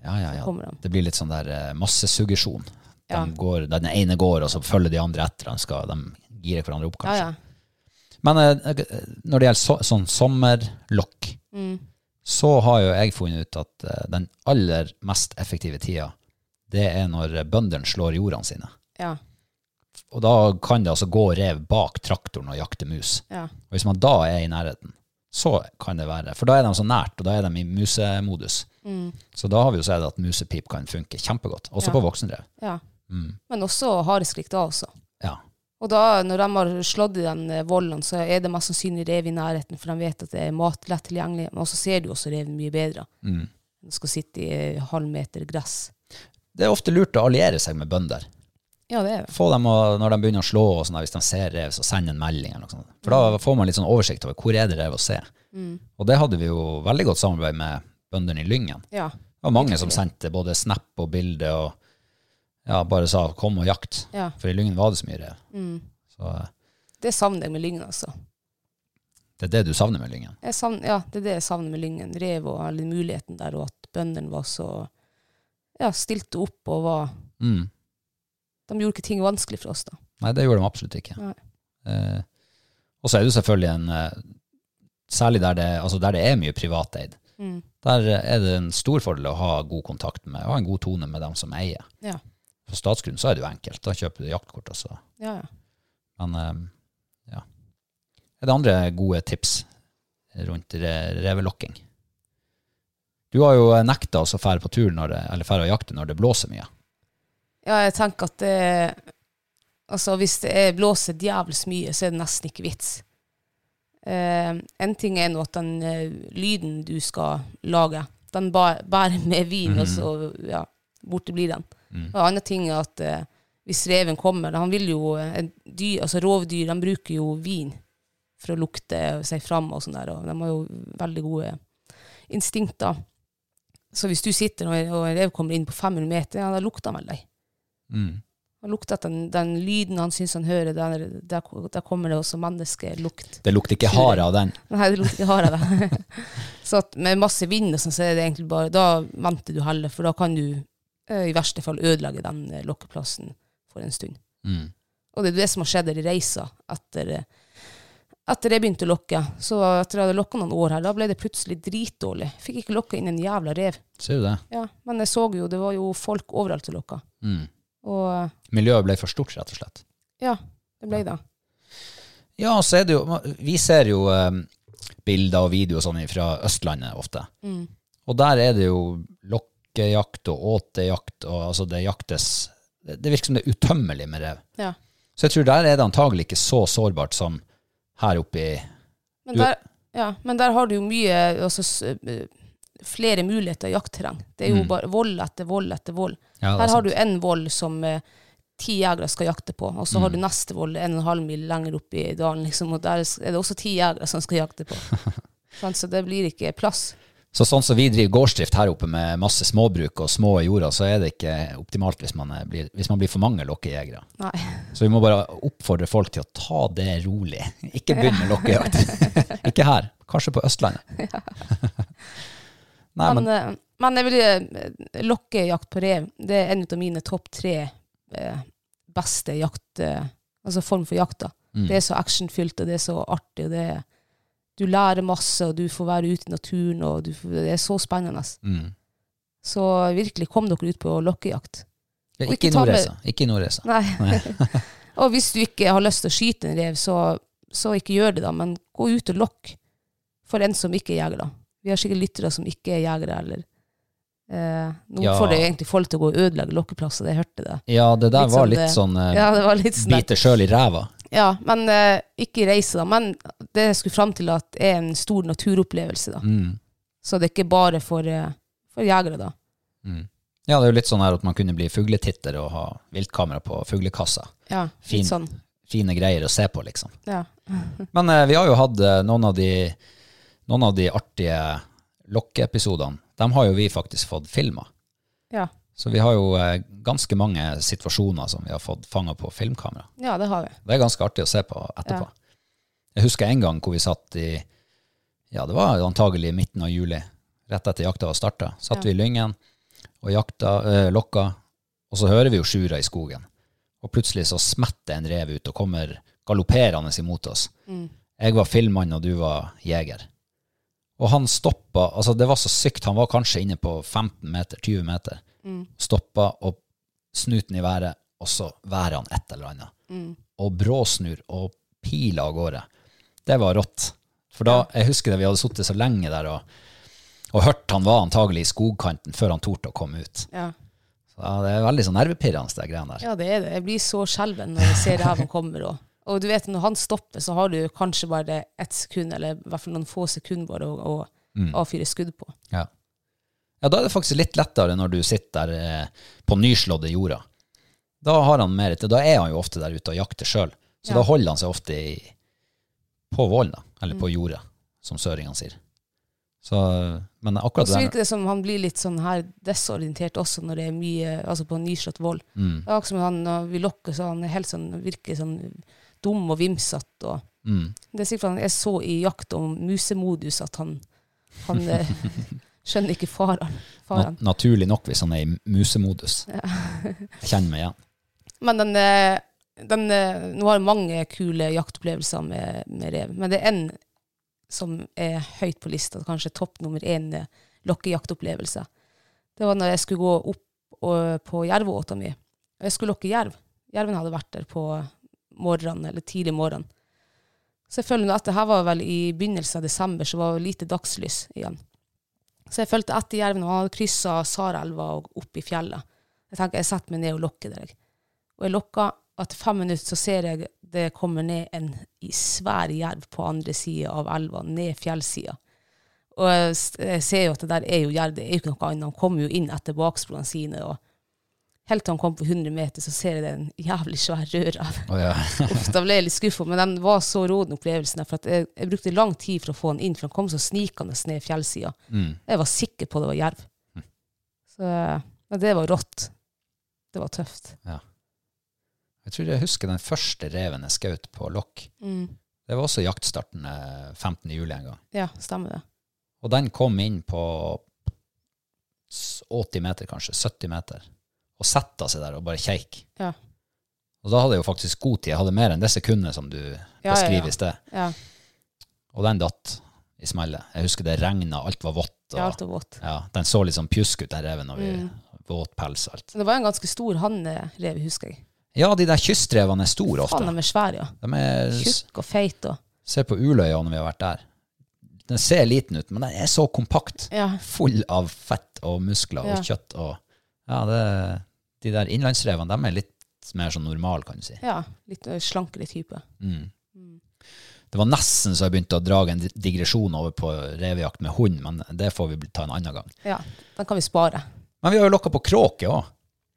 ja, ja. ja.
Kommer de.
Det blir litt sånn der eh, massesuggesjon. De
Ja.
går, den ene går, og så følger de andre etter. De, skal, de girer hverandre opp,
Ja,
kanskje.
ja.
Men eh, når det gjelder så, sånn sommerlokk,
Mm.
så har jo jeg funnet ut at eh, den aller mest effektive tida, det er når bøndene slår jordene sine.
ja,
Og da kan det altså gå rev bak traktoren og jakte mus.
ja.
Og hvis man da er i nærheten, så kan det være For da er de så nært, og da er de i musemodus. Så da har vi jo sett at musepip kan funke kjempegodt, også på voksenrev.
ja. Men også hareskrik da også.
Ja.
Og da, når de har slått i den eh, volden, så er det mest sannsynlig rev i nærheten, for de vet at det er mat lett tilgjengelig. Men også ser du også reven mye bedre.
Mm.
Den skal sitte i eh, halv meter gress.
Det er ofte lurt å alliere seg med bønder.
Ja, det er det.
Få dem å, når de begynner å slå, og sånn, der, hvis de ser rev, så send en melding. Eller noe sånt. For da får man litt sånn oversikt over hvor er det rev å se.
Mm.
Og det hadde vi jo veldig godt samarbeid med bøndene i Lyngen.
Ja.
Det var mange som sendte både snap og bilde og ja, bare sa 'kom og jakt',
Ja. Mm.
for i Lyngen var det så mye rev. Så eh,
Det savner jeg med Lyngen, altså.
det er det du savner med Lyngen.
Jeg savner, ja, det er det jeg savner med Lyngen. Rev og all den muligheten der, og at bøndene var så ja, stilte opp og var
Mm.
De gjorde ikke ting vanskelig for oss, da.
Nei, det gjorde de absolutt ikke.
Nei.
Eh, og så er det jo selvfølgelig en eh, Særlig der det, altså der det er mye privateid,
Mm.
der eh, er det en stor fordel å ha god kontakt med, og ha en god tone med dem som eier.
Ja.
På statsgrunn så er det jo enkelt, da kjøper du jaktkort også.
Ja, ja.
Men eh, ja. Er det andre gode tips rundt re revelokking? Du har jo nekta oss å fære på tur når det, eller fære og jakte når det blåser mye.
ja, jeg tenker at det Altså, hvis det er blåser djevelsk mye, så er det nesten ikke vits. Eh, en ting er nå at den eh, lyden du skal lage, den ba- bærer med vin, og så ja, borte blir den.
Mm.
Og en annen ting er at eh, hvis reven kommer Han vil jo eh, en dyr, altså Rovdyr de bruker jo vin for å lukte seg fram, og sånn der, og de har jo veldig gode instinkter. Så hvis du sitter og, og en rev kommer inn på 500 meter, ja, da lukter han vel deg.
Mm.
Han lukter at den, den lyden han syns han hører, der, der, der kommer det også menneskelukt.
Det lukter ikke hare av den.
Nei, det lukter ikke hare av det. (laughs) så at med masse vind og sånn, så er det egentlig bare Da venter du heller, for da kan du eh, i verste fall ødelegge den eh, lokkeplassen for en stund.
Mm.
Og det er det som har skjedd her i reisa etter, eh, etter jeg begynte å lokke. Så etter jeg hadde lokka noen år her, da ble det plutselig dritdårlig. Fikk ikke lokka inn en jævla rev.
Ser du det?
Ja, men jeg så jo, det var jo folk overalt og lokka.
Mm.
Og eh,
Miljøet ble for stort, rett og slett.
ja, det ble det.
Ja, så er det jo Vi ser jo eh, bilder og videoer sånn fra Østlandet ofte.
Mm.
Og der er det jo lokkejakt og åtejakt, og altså det jaktes Det det virker som det er utømmelig med rev.
Ja.
Så jeg tror der er det antagelig ikke så sårbart som her oppe i
Men
Du-
der, ja, men der har du jo mye altså, s- eh, flere muligheter i jaktterreng. Det er
Mm.
jo bare vold etter vold etter vold.
Ja, det er
Her har
sant.
du en vold som eh, ti jegere skal jakte på, og så har
Mm.
du neste vold en og en halv mil lenger opp i dalen, liksom, og der er det også ti jegere som skal
(laughs)
jakte på. Sant, Så det blir ikke plass.
Så sånn som vi driver gårdsdrift her oppe med masse småbruk og små jorder, så er det ikke optimalt hvis man, er, blir, hvis man blir for mange lokkejegere.
Nei.
Så vi må bare oppfordre folk til å ta det rolig. Ikke begynne
(laughs)
lokkejakt. ikke her. Kanskje på Østlandet. (laughs) Nei,
Men,
men
eh, men jeg vil eh, lokkejakt på rev. Det er en av mine topp tre eh, beste jakt, eh, altså form for jakta.
Mm.
Det er så actionfylt, og det er så artig. og det er, Du lærer masse, og du får være ute i naturen, og du, får- det er så spennende.
mm.
Så virkelig, kom dere ut på lokkejakt.
Ja,
Og
Ikke
ikke
i
ta med-
Nordreisa. Ikke i Nordreisa.
(laughs) Nei. og hvis du ikke har lyst til å skyte en rev, så, så ikke gjør det, da. Men gå ut og lokk for en som ikke er jeger, da. Vi har sikkert lyttere som ikke er jegere, eller eh, Nå
Ja.
får det jo egentlig folk til å gå og ødelegge lokkeplasser, jeg hørte det.
Ja, det der
Litt
var
sånn
litt
det-
sånn eh,
Ja, det var litt sånn
bite sjøl i ræva.
Ja, men eh, ikke reise, da. Men det jeg skulle fram til, at er en stor naturopplevelse, da.
Mm.
Så det er ikke bare for, eh, for jegere, da.
Mm. Ja, det er jo litt sånn her at man kunne bli fugletitter og ha viltkamera på fuglekassa.
Ja,
Fin.
litt sånn.
Fine greier å se på, liksom.
Ja.
Men eh, vi har jo hatt eh, noen av de, noen av de artige lokkeepisodene. Dem har jo vi faktisk fått filma.
Ja.
Så vi har jo eh, ganske mange situasjoner som vi har fått fanga på filmkamera.
ja, det har vi.
Det er ganske artig å se på etterpå.
Ja.
Jeg husker en gang hvor vi satt i Ja, det var antagelig midten av juli, rett etter jakta var starta. Satt
Ja.
vi i Lyngen og jakta, eh, lokka, og så hører vi jo sjura i skogen. Og plutselig så smetter en rev ut og kommer galopperende imot oss.
Mm.
Jeg var filmmann, og du var jeger. Og han stoppa altså Det var så sykt. Han var kanskje inne på 15 meter, 20 meter.
Mm.
Stoppa og snuten i været, og så værer han et eller annet. Og bråsnur og piler av gårde. Det var rått. For da, jeg husker det, vi hadde sittet så lenge der og, og hørt han var antagelig i skogkanten før han torde å komme ut.
Ja.
Så ja, det er veldig sånn nervepirrende, det greiene der.
ja, det er det. Jeg blir så skjelven når jeg ser reven kommer. Og, og du vet, når han stopper, så har du kanskje bare ett sekund, eller i hvert fall noen få sekunder bare å, å avfyre skudd på.
Ja. ja, da er det faktisk litt lettere når du sitter der eh, på nyslådde jorda. Da har han mer til, da er han jo ofte der ute og jakter sjøl. Så
Ja.
da holder han seg ofte i, på vålen, da. Eller på jorda, som søringene sier. Så, men akkurat
Og så
det
virker det som han blir litt sånn her desorientert også når det er mye altså på nyslått vold.
mm,
Det er akkurat som han når vi lokker, så han er helt sånn, virker sånn dum og vimsete. Og.
mm.
Det er sikkert han jeg så i jakt om musemodus at han, han eh, skjønner ikke faren.
Na
faren.
naturlig nok hvis han er i musemodus. Jeg kjenner meg igjen.
Men den, eh, den eh, Nå har jeg mange kule jaktopplevelser med, med rev, men det er en som er høyt på lista, kanskje topp nummer én eh, lokkejaktopplevelse. Det var når jeg skulle gå opp og, på jervåta mi. Og jeg skulle lokke jerv. Jerven hadde vært der på morgenen, eller tidlig morgen. Så jeg følger nå etter. Her var vel i begynnelsen av desember, så var det lite dagslys igjen. Så jeg fulgte etter jerven, og han hadde kryssa Sarelva og opp i fjellet. Jeg tenker, jeg setter meg ned og lokker der. jeg. Og jeg lokka. Etter fem minutter så ser jeg det kommer ned en i- svær jerv på andre sida av elva, ned fjellsida. Og jeg s- jeg ser jo at det der er jo jerv, det er jo ikke noe annet. Han kommer jo inn etter baksporene sine. og Helt til han kom på 100 meter, så ser jeg det er en jævlig svær rødrev.
Å, ja.
Uff, (laughs) da ble jeg litt skuffa, men den var så råden opplevelsen. der, For at jeg, jeg brukte lang tid for å få den inn, for han kom så snikende ned fjellsida. Jeg var sikker på det var jerv. Så men det var rått. Det var tøft.
Jeg tror jeg husker den første reven jeg skjøt på lokk. Det var også jaktstarten eh, 15. juli en gang.
Ja, stemmer det.
Og den kom inn på s- 80 meter, kanskje. 70 meter. Og setta seg der og bare keik.
Ja.
Og da hadde jeg jo faktisk god tid. Jeg hadde mer enn det sekundet som du
ja,
beskriver
ja.
i sted.
Ja,
Og den datt i smellet. Jeg husker det regna, alt var vått.
det er alt Mm. og vått.
ja, den så litt sånn pjusk ut, den reven. Og vi, Våt pels og alt.
Men det var en ganske stor hannrev, husker jeg.
Ja, de der kystrevene er store ofte.
Faen, de er svære, ja.
De er,
Tjukk og feit og
se på Uløya når vi har vært der. Den ser liten ut, men den er så kompakt.
Ja.
Full av fett og muskler
Ja.
og kjøtt. Og, ja, det, de der innlandsrevene de er litt mer sånn normale, kan du si.
Ja, litt ø, slankere type.
Det var nesten så jeg begynte å dra en digresjon over på revejakt med hund, men det får vi ta en annen gang.
Ja, den kan vi spare.
Men vi har jo lokka på kråke òg,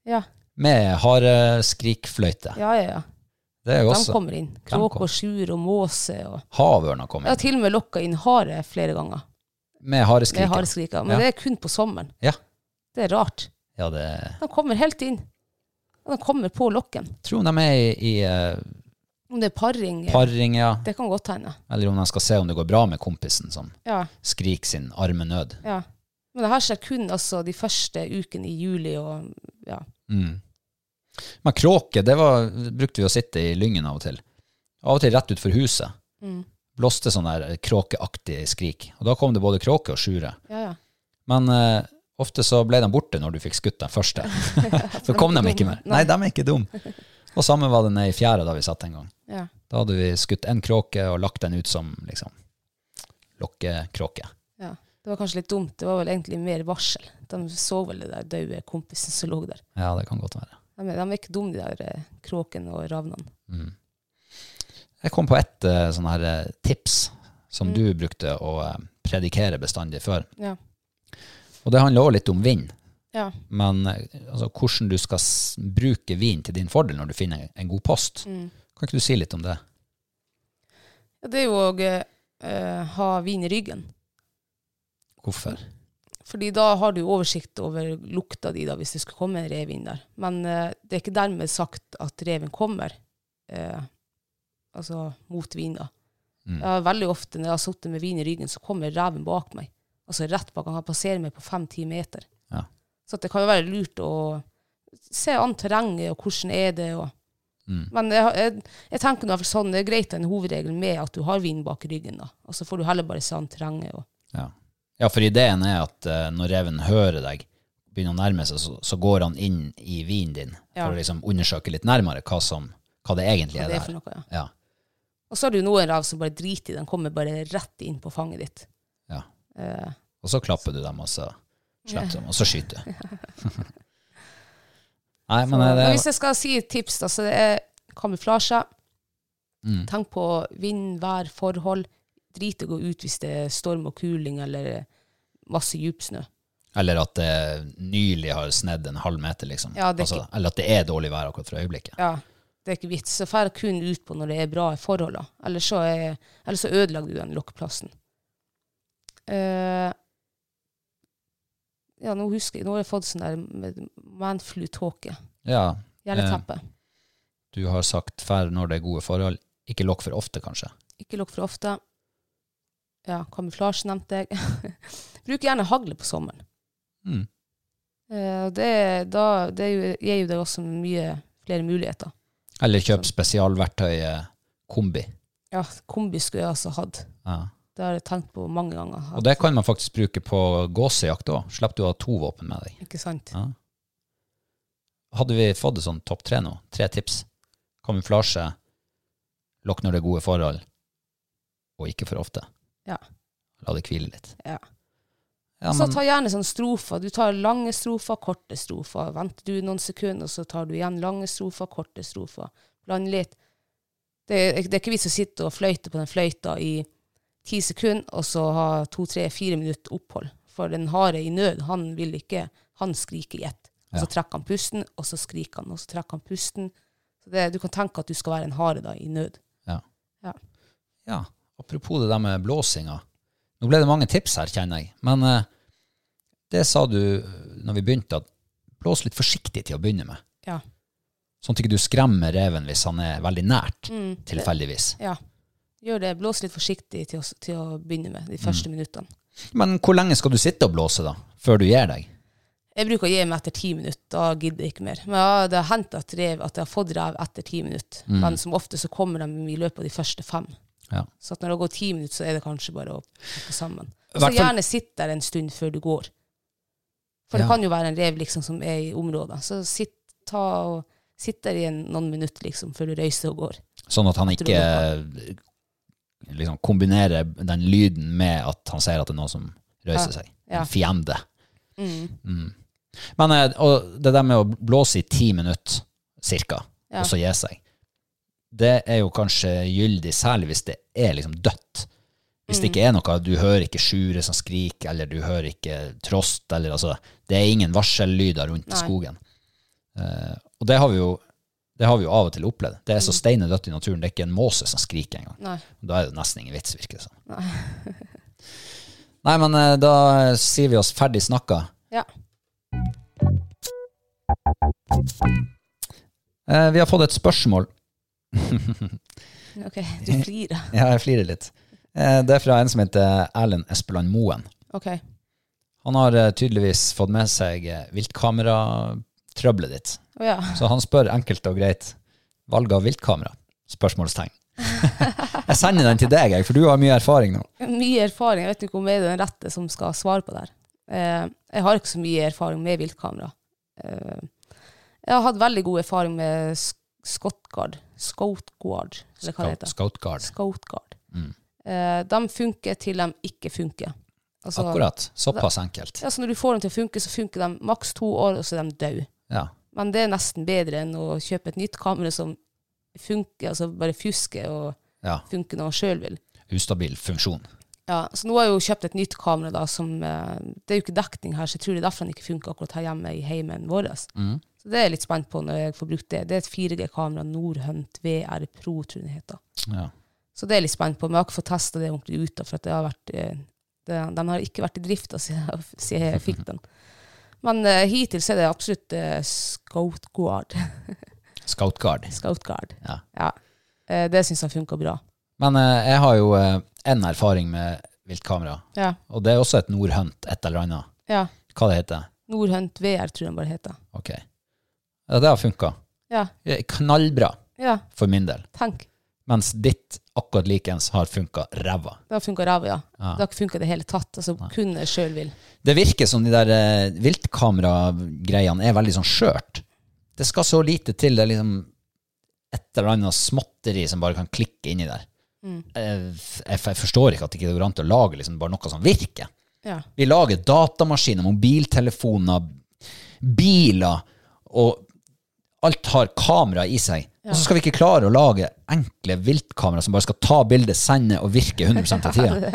Ja,
med hareskrikfløyte.
ja, ja. ja.
Det er jo
De
også
kommer inn. Kråke og sjur og måse og
Havørna kom
Jeg har
inn
til og med lokka inn hare flere ganger
med hareskrik.
med hareskriker, men
Ja.
det er kun på sommeren.
Ja.
Det er rart.
ja, det
De kommer helt inn. Og De kommer på lokken.
tror de er i, i eh,
Om det er paring, ø,
paring, ja.
det kan godt hende.
Eller om de skal se om det går bra med kompisen som
Ja,
skriker sin arme nød.
ja. Men det her skjer kun altså, de første ukene i juli og ja.
Mm. Men kråke, det var, brukte vi å sitte i lyngen av og til. Av og til rett utfor huset. Blåste sånn der kråkeaktig skrik. Og da kom det både kråke og sjure.
ja, ja.
Men eh, ofte så ble de borte når du fikk skutt den (laughs) første. så kom de
ikke
ikke
dumme.
mer. Nei, de er ikke dumme. Og samme var det nede i fjæra da vi satt en gang.
ja.
Da hadde vi skutt en kråke og lagt den ut som liksom lokkekråke.
Ja, det var kanskje litt dumt. Det var vel egentlig mer varsel. De så vel det der døde kompisen som lå der.
Ja, det kan godt være.
De, er- de er ikke dumme, de der eh, kråkene og ravnene.
Mm. Jeg kom på ett eh, sånn her eh, tips som du brukte å eh, predikere bestandig før.
Mm. Ja.
Og det handler også litt om vind.
Ja.
Men eh, altså, hvordan du skal s bruke vin til din fordel når du finner en god post.
Mm.
Kan ikke du si litt om det?
Ja, Det er jo å eh, ha vin i ryggen.
Hvorfor?
Fordi da har du jo oversikt over lukta di da, hvis det skulle komme en rev inn der. Men eh, det er ikke dermed sagt at reven kommer eh, altså mot vinen. da.
Mm.
Jeg har veldig ofte når jeg har sittet med vin i ryggen, så kommer reven bak meg. Altså rett bak. Han kan passere meg på fem-ti meter.
Ja.
Så at det kan jo være lurt å se an terrenget, og hvordan er det. Og.
Mm.
Men jeg, har- jeg, jeg tenker nå i hvert fall sånn, det er greit en hovedregel med at du har vin bak ryggen, da. Og så får du heller bare se an terrenget. Og.
Ja. ja, for ideen er at eh, når reven hører deg begynne å nærme seg, så, så går han inn i vinen din
Ja.
for å liksom undersøke litt nærmere hva, som, hva det egentlig
Hva
er
det
der.
er for noe, ja.
Ja,
Og så har du noen rev som bare driter i den, kommer bare rett inn på fanget ditt.
ja.
Eh,
Og så klapper du dem, og så slipper du dem, og så skyter
(laughs)
du. Nei, men
så,
eh, det
men hvis jeg skal si et tips, da, så det er kamuflasje.
Mm.
Tenk på vind, vær, forhold. Drit i å gå ut hvis det er storm og kuling eller masse djup snø.
Eller at det nylig har snedd en halv meter, liksom.
Ja, det er
altså, eller at det er dårlig vær akkurat for øyeblikket.
Ja, det er ikke vits. Så drar kun ut på når det er bra forhold. da. Ellers så, er, ellers så ødelegger du den lokkeplassen. Eh, ja, nå husker jeg, nå har jeg fått sånn der manflu-tåke.
Ja,
Hjerneteppe.
du har sagt færre når det er gode forhold. Ikke lokk for ofte, kanskje.
Ikke lukk for ofte. Ja, kamuflasje nevnte jeg. (laughs) Bruk gjerne hagle på sommeren.
Mm.
Eh, og det, da, det er jo- gir jo deg også mye flere muligheter.
Eller kjøp
Sånn.
spesialverktøyet kombi.
Ja, kombi skulle jeg altså hatt.
Ja.
Det har jeg tenkt på mange ganger.
Og det kan man faktisk bruke på gåsejakt òg. Slipper du å ha to våpen med deg.
Ikke sant?
Ja. Hadde vi fått det sånn topp tre nå, tre tips Kamuflasje, lokk når det er gode forhold, og ikke for ofte.
Ja.
La det hvile litt.
Ja.
Ja,
Så
men,
ta gjerne sånne strofer. Du tar lange strofer, korte strofer. Venter du noen sekunder, så tar du igjen lange strofer, korte strofer. Bland litt. Det, er- det er ikke vits å sitte og fløyte på den fløyta i ti sekunder, og så ha to, tre, fire minutter opphold. For den harde i nød, han vil ikke Han skriker i ett. Og
Ja.
så trekker han pusten, og så skriker han, og så trekker han pusten. Så det, du kan tenke at du skal være en hare da, i nød.
ja.
Ja.
Ja, apropos det der med blåsinga. Nå ble det mange tips her, kjenner jeg. Men eh, det sa du eh, når vi begynte, at blås litt forsiktig til å begynne med.
Ja.
Sånn at ikke du skremmer reven hvis han er veldig
Mm.
nært, tilfeldigvis.
ja. Gjør det. Blås litt forsiktig til å, til å begynne med, de første
Mm.
minuttene.
Men hvor lenge skal du sitte og blåse, da? Før du gir deg?
Jeg bruker å gi meg etter ti minutter, da gidder jeg ikke mer. Men ja, det har hendt at, rev, at jeg har fått rev etter ti minutter,
Mm.
men som ofte så kommer de i løpet av de første fem.
Ja.
Så at når det har gått ti minutter, så er det kanskje bare å pakke sammen.
I
Så
hvert fall-
gjerne sitt der en stund før du går. For
Ja.
det kan jo være en rev liksom som er i området. Så sitt, ta og, sitt der i en, noen minutter liksom før du reiser og går.
Sånn at han
Tror
ikke eh, liksom kombinerer den lyden med at han ser at det er noen som røyser seg.
Ja.
En fiende. Mm. Men eh, og det der med å blåse i ti minutter cirka,
Ja.
og så gi seg, det er jo kanskje gyldig særlig hvis det er liksom dødt. Hvis
Mm.
det ikke er noe, du hører ikke skjure som skrik, eller du hører ikke trost, eller altså, det er ingen varsellyder rundt i
Nei.
skogen. Eh, og det har vi jo det har vi jo av og til opplevd. Det er så steinedødt i naturen. Det er ikke en måse som skriker engang.
Mm. Nei.
Da er det nesten ingen vits, virker det som. (laughs) Nei. men eh, da sier vi oss ferdig snakka.
Ja.
Eh, vi har fått et spørsmål. (laughs)
Ok, du flirer.
(laughs) Ja, jeg flirer litt. Eh, det er fra en som heter Erlend Espeland Moen.
Ok.
Han har eh, tydeligvis fått med seg eh, viltkameratrøbbelet ditt.
Å ja.
Så han spør enkelt og greit valg av viltkamera? Spørsmålstegn. (laughs) jeg sender den til deg, jeg, for du har mye erfaring nå.
Mye erfaring. Jeg vet ikke om jeg er den rette som skal svare på det. her. Eh, jeg har ikke så mye erfaring med viltkamera. Eh, jeg har hatt veldig god erfaring med sk- Scottguard. Scoutguard, eller hva det heter.
Scoutguard.
Scoutguard. Eh, de funker til de ikke funker. Altså,
Akkurat. Såpass enkelt.
Ja, så når du får dem til å funke, så funker de maks to år, og så er de døde.
Ja.
Men det er nesten bedre enn å kjøpe et nytt kamera som funker, altså bare fjusker og
Ja.
funker når man sjøl vil.
Ustabil funksjon.
Ja, så nå har jeg jo kjøpt et nytt kamera da, som, eh, det er jo ikke dekning her, så jeg tror det er derfor den ikke funker akkurat her hjemme i heimen vår. altså. Så det er jeg litt spent på når jeg får brukt det. Det er et 4G-kamera, Nordhunt VR Pro, tror jeg det heter.
Ja.
Så det er jeg litt spent på, men jeg har ikke fått testa det ordentlig ut, da, for at det har vært, eh, det, den har ikke vært i drift da, (laughs) siden, jeg- siden jeg fikk den. Men eh, hittil så er det absolutt uh, Scout Guard. (laughs)
Scout guard.
Scout Guard.
Ja.
Eh, det syns jeg funker bra.
Men eh, jeg har jo eh, en erfaring med viltkamera,
Ja.
og det er også et Nordhunt et eller annet.
ja.
Hva det heter.
Nordhunt VR, tror jeg den bare heter.
Ok. Ja, det har funka.
Ja.
Knallbra
ja.
for min del.
Tenk.
Mens ditt akkurat likens har funka ræva.
Det har funka ræva, ja.
Ja.
Det har ikke funka i det hele tatt. Altså, kun jeg sjøl vil.
Det virker som de der eh, viltkameragreiene er veldig sånn skjørt. Det skal så lite til. Det er liksom et eller annet småtteri som bare kan klikke inni der. Eh, f- Jeg, jeg forstår ikke at det ikke går an til å lage liksom bare noe som virker.
Ja.
Vi lager datamaskiner, mobiltelefoner, biler, og alt har kamera i seg. Og så skal vi ikke klare å lage enkle viltkamera som bare skal ta bildet, sende og virke 100 av
(laughs)
tida.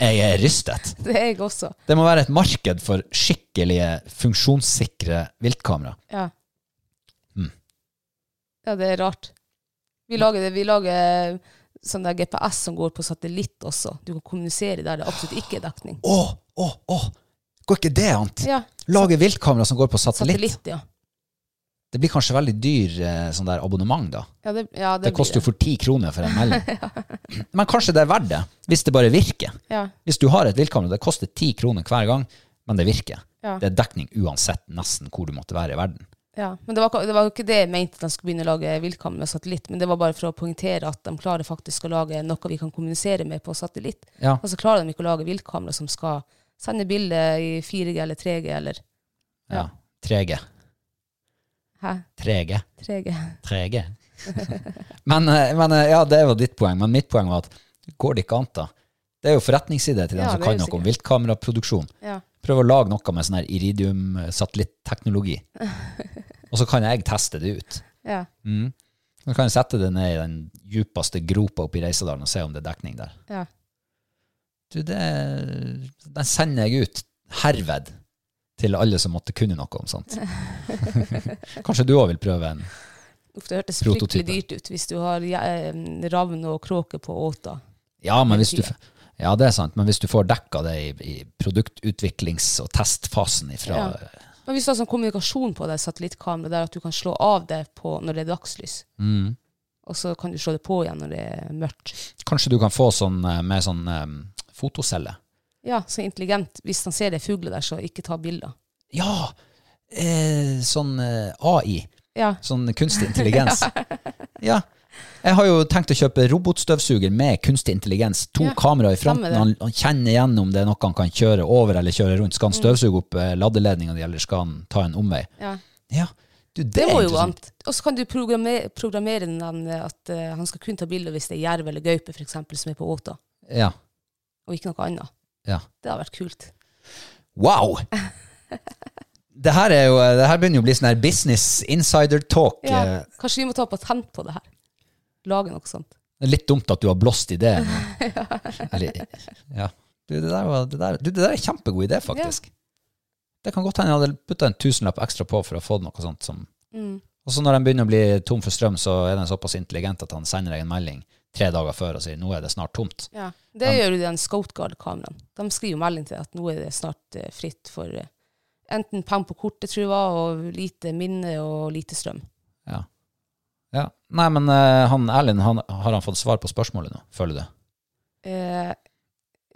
Jeg er rystet.
Det er jeg også.
Det må være et marked for skikkelige, funksjonssikre viltkamera.
Ja.
Mm.
ja, det er rart. Vi lager, det, vi lager sånn der GPS som går på satellitt også. Du kan kommunisere der det absolutt ikke er dekning.
Å, å, å! Går ikke det an?
Ja,
Lage viltkamera som går på satellitt.
satellitt, ja.
Det blir kanskje veldig dyr eh, sånn der abonnement, da.
Ja, det, ja,
Det,
blir
koster jo for ti kroner for en melding.
(laughs)
Men kanskje det er verdt det, hvis det bare virker.
Ja,
Hvis du har et viltkamera, det koster ti kroner hver gang, men det virker.
Ja.
Det er dekning uansett nesten hvor du måtte være i verden.
ja. Men det var, ikke- det var jo ikke det jeg mente at de skulle begynne å lage viltkamera med satellitt, men det var bare for å poengtere at de klarer faktisk å lage noe vi kan kommunisere med på satellitt.
Ja.
Og så klarer de ikke å lage viltkamera som skal sende bilder i 4G eller 3G eller
ja. 3G.
Hæ?
3G.
3G?
3G. (laughs) men, eh, men eh, ja, det var ditt poeng. Men mitt poeng var at går det ikke an, da? Det er jo forretningsidé til dem
Ja,
som
det er
kan
jo
noe om
sikkert.
viltkameraproduksjon.
Ja.
Prøv å lage noe med sånn her
(laughs)
iridium-satellitteknologi. Og så kan jeg teste det ut.
ja.
Mm. Så kan jeg sette det ned i den djupeste gropa oppe i Reisadalen og se om det er dekning der.
Ja.
Du, det Den sender jeg ut herved til alle som måtte kunne noe om (laughs) sånt. Kanskje du òg vil prøve en?
Uff, det hørtes
Prototype.
fryktelig dyrt ut hvis du har ja, eh, ravn og kråke på åta.
Ja, men
Hele
hvis du,
tida.
ja, det er sant. Men hvis du får dekka det i, i produktutviklings- og testfasen ifra
Ja. Men hvis du har sånn kommunikasjon på det satellittkameraet, der at du kan slå av det på når det er dagslys,
mm,
og så kan du slå det på igjen når det er mørkt.
Kanskje du kan få sånn eh, med sånn em, fotocelle?
Ja, så intelligent. Hvis han ser det er fugler der, så ikke ta bilder.
Ja! Eh, sånn eh, AI.
Ja,
Sånn kunstig
(laughs)
intelligens. ja. Jeg har jo tenkt å kjøpe robotstøvsuger med kunstig intelligens. To
Ja,
kameraer i fronten.
stemmer det.
Han, han kjenner igjen om det er noe han kan kjøre over eller kjøre rundt.
Mm.
Skal han støvsuge opp eh, ladeledninga di, eller skal han ta en omvei?
ja.
Ja, du, det,
Det
er
må jo
interessant.
an. Og så kan du programme- programmere den eh, at eh, han skal kun ta bilder hvis det er jerv eller gaupe for eksempel, som er på åta,
Ja,
og ikke noe annet.
ja.
Det har vært kult. (laughs)
Wow! Det her, er jo, det her begynner jo å bli sånn her business insider talk.
Ja.
Eh,
Kanskje vi må ta patent på det her? Lage noe sånt.
Det er litt dumt at du har blåst i det. Eller, ja. du, det, der var, det, der, du, det der er en kjempegod idé, faktisk. Det kan godt hende jeg hadde putta en tusenlapp ekstra på for å få noe sånt som Og så når den begynner å bli tom for strøm, så er den såpass intelligent at han sender deg en melding tre dager før og sier 'nå er det snart tomt'.
Det gjør jo den Scoutguard-kameraen. De skriver jo melding til deg at nå er det snart eh, fritt for eh, enten pang på kortet, tror jeg, var, og lite minne og lite strøm.
Ja. ja. Nei, men eh, han Erlend, han, har han fått svar på spørsmålet nå, føler du?
Eh,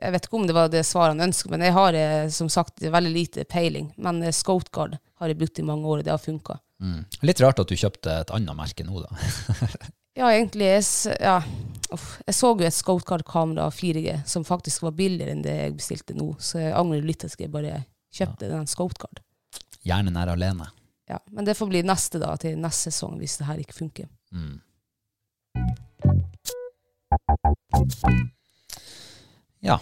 jeg vet ikke om det var det svaret han ønsket, men jeg har eh, som sagt veldig lite peiling. Men eh, Scoutguard har jeg brukt i mange år, og det har funka.
Mm. Litt rart at du kjøpte et annet merke nå, da.
Ja, egentlig jeg, s- ja. Uff, jeg så jo et Scoutguard-kamera 4G som faktisk var billigere enn det jeg bestilte nå, så jeg angrer litt at jeg bare kjøpte den Scoutguard.
Hjernen er alene.
Ja, men det får bli neste da, til neste sesong, hvis det her ikke funker.
Mm. Ja.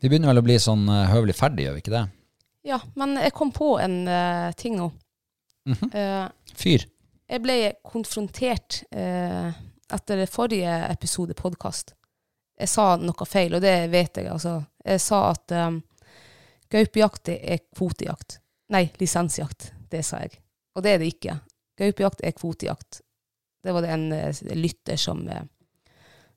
Vi begynner vel å bli sånn eh, høvelig ferdig, gjør vi ikke det?
Ja, men jeg kom på en eh, ting nå.
Mhm.
Eh,
Fyr.
jeg ble konfrontert eh, etter forrige episode podkast Jeg sa noe feil, og det vet jeg, altså. Jeg sa at um, gaupejakt det er kvotejakt. Nei, lisensjakt. Det sa jeg. Og det er det ikke. Gaupejakt er kvotejakt. Det var det en eh, lytter som, eh,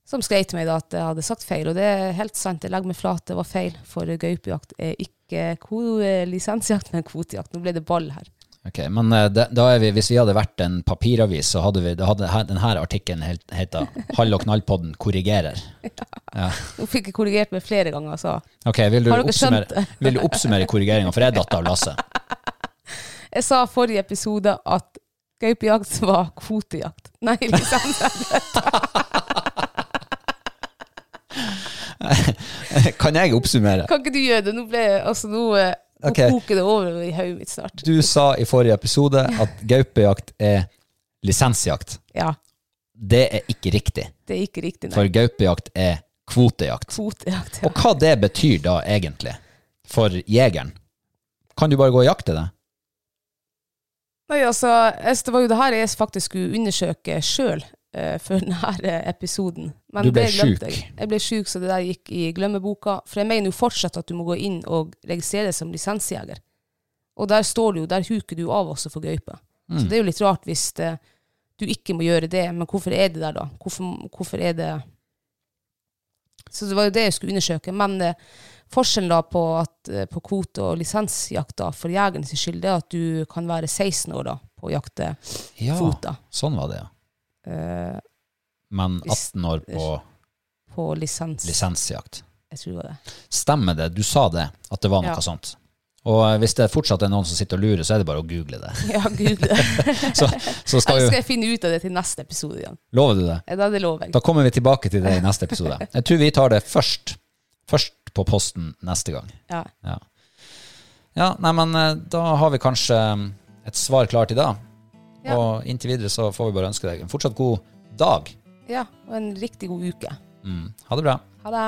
som skrev til meg da at jeg hadde sagt feil, og det er helt sant. Jeg legger meg flat, det var feil, for gaupejakt er ikke ko- eh, lisensjakt, men kvotejakt. Nå ble det ball her.
Ok, men eh, det- da er vi, Hvis vi hadde vært en papiravis, så hadde, vi, da hadde he- denne artikkelen helt- heta 'Hall og knallpodden korrigerer'.
Nå fikk jeg korrigert meg flere ganger, så
Ok, Vil du
Har dere skjønt
oppsummere,
det?
vil du oppsummere korrigeringa, for jeg datt av lasset.
Jeg sa forrige episode at gaupejakt (laughs) var kvotejakt. Nei, liksom. lisensjakt.
(laughs) Kan jeg oppsummere?
Kan ikke du gjøre det? Nå ble jeg, altså nå eh, nå
Ok.
koker det over i hodet mitt snart.
Du sa i forrige episode at gaupejakt er lisensjakt.
Ja,
Det er ikke riktig,
det er ikke riktig,
for
nei.
gaupejakt er kvotejakt.
Kvotejakt, ja.
Og hva det betyr da egentlig for jegeren? Kan du bare gå og jakte det?
Nei, altså, jeg- det var jo det her jeg faktisk skulle undersøke sjøl for denne episoden. Men
Du ble
det glemte
sjuk.
Jeg. jeg ble sjuk, så det der gikk i glemmeboka. For jeg mener jo fortsatt at du må gå inn og registrere deg som lisensjeger. Og der står du jo, der huker du av også for gaupe.
Mm.
Så det er jo litt rart hvis det, du ikke må gjøre det, men hvorfor er det der da? Hvorfor, hvorfor er det Så det var jo det jeg skulle undersøke. Men eh, forskjellen da på, at, eh, på kvote- og lisensjakt da, for jegerens skyld, det er at du kan være 16 år da på å jakte
Ja,
kvoter.
sånn var det, ja.
eh,
Men
Hvis-
18 år på
på lisens.
lisensjakt.
Jeg tror det (laughs) var det.
Stemmer det? Du sa det, at det var noe
Ja.
sånt. Og eh, hvis det fortsatt er noen som sitter og lurer, så er det bare å google det. (laughs)
Ja, gud. Eller
Så, så skal
skal
jo
jeg finne ut av det til neste episode igjen?
Lover du det?
Ja, Da er det lov, jeg.
Da kommer vi tilbake til det i neste episode. Jeg tror vi tar det først. Først på posten neste gang.
Ja.
Ja, ja nei, men eh, da har vi kanskje mm, et svar klart i dag.
Ja.
Og inntil videre så får vi bare ønske deg en fortsatt god dag.
ja. Og en riktig god uke.
Mm. Ha det bra.
Ha det.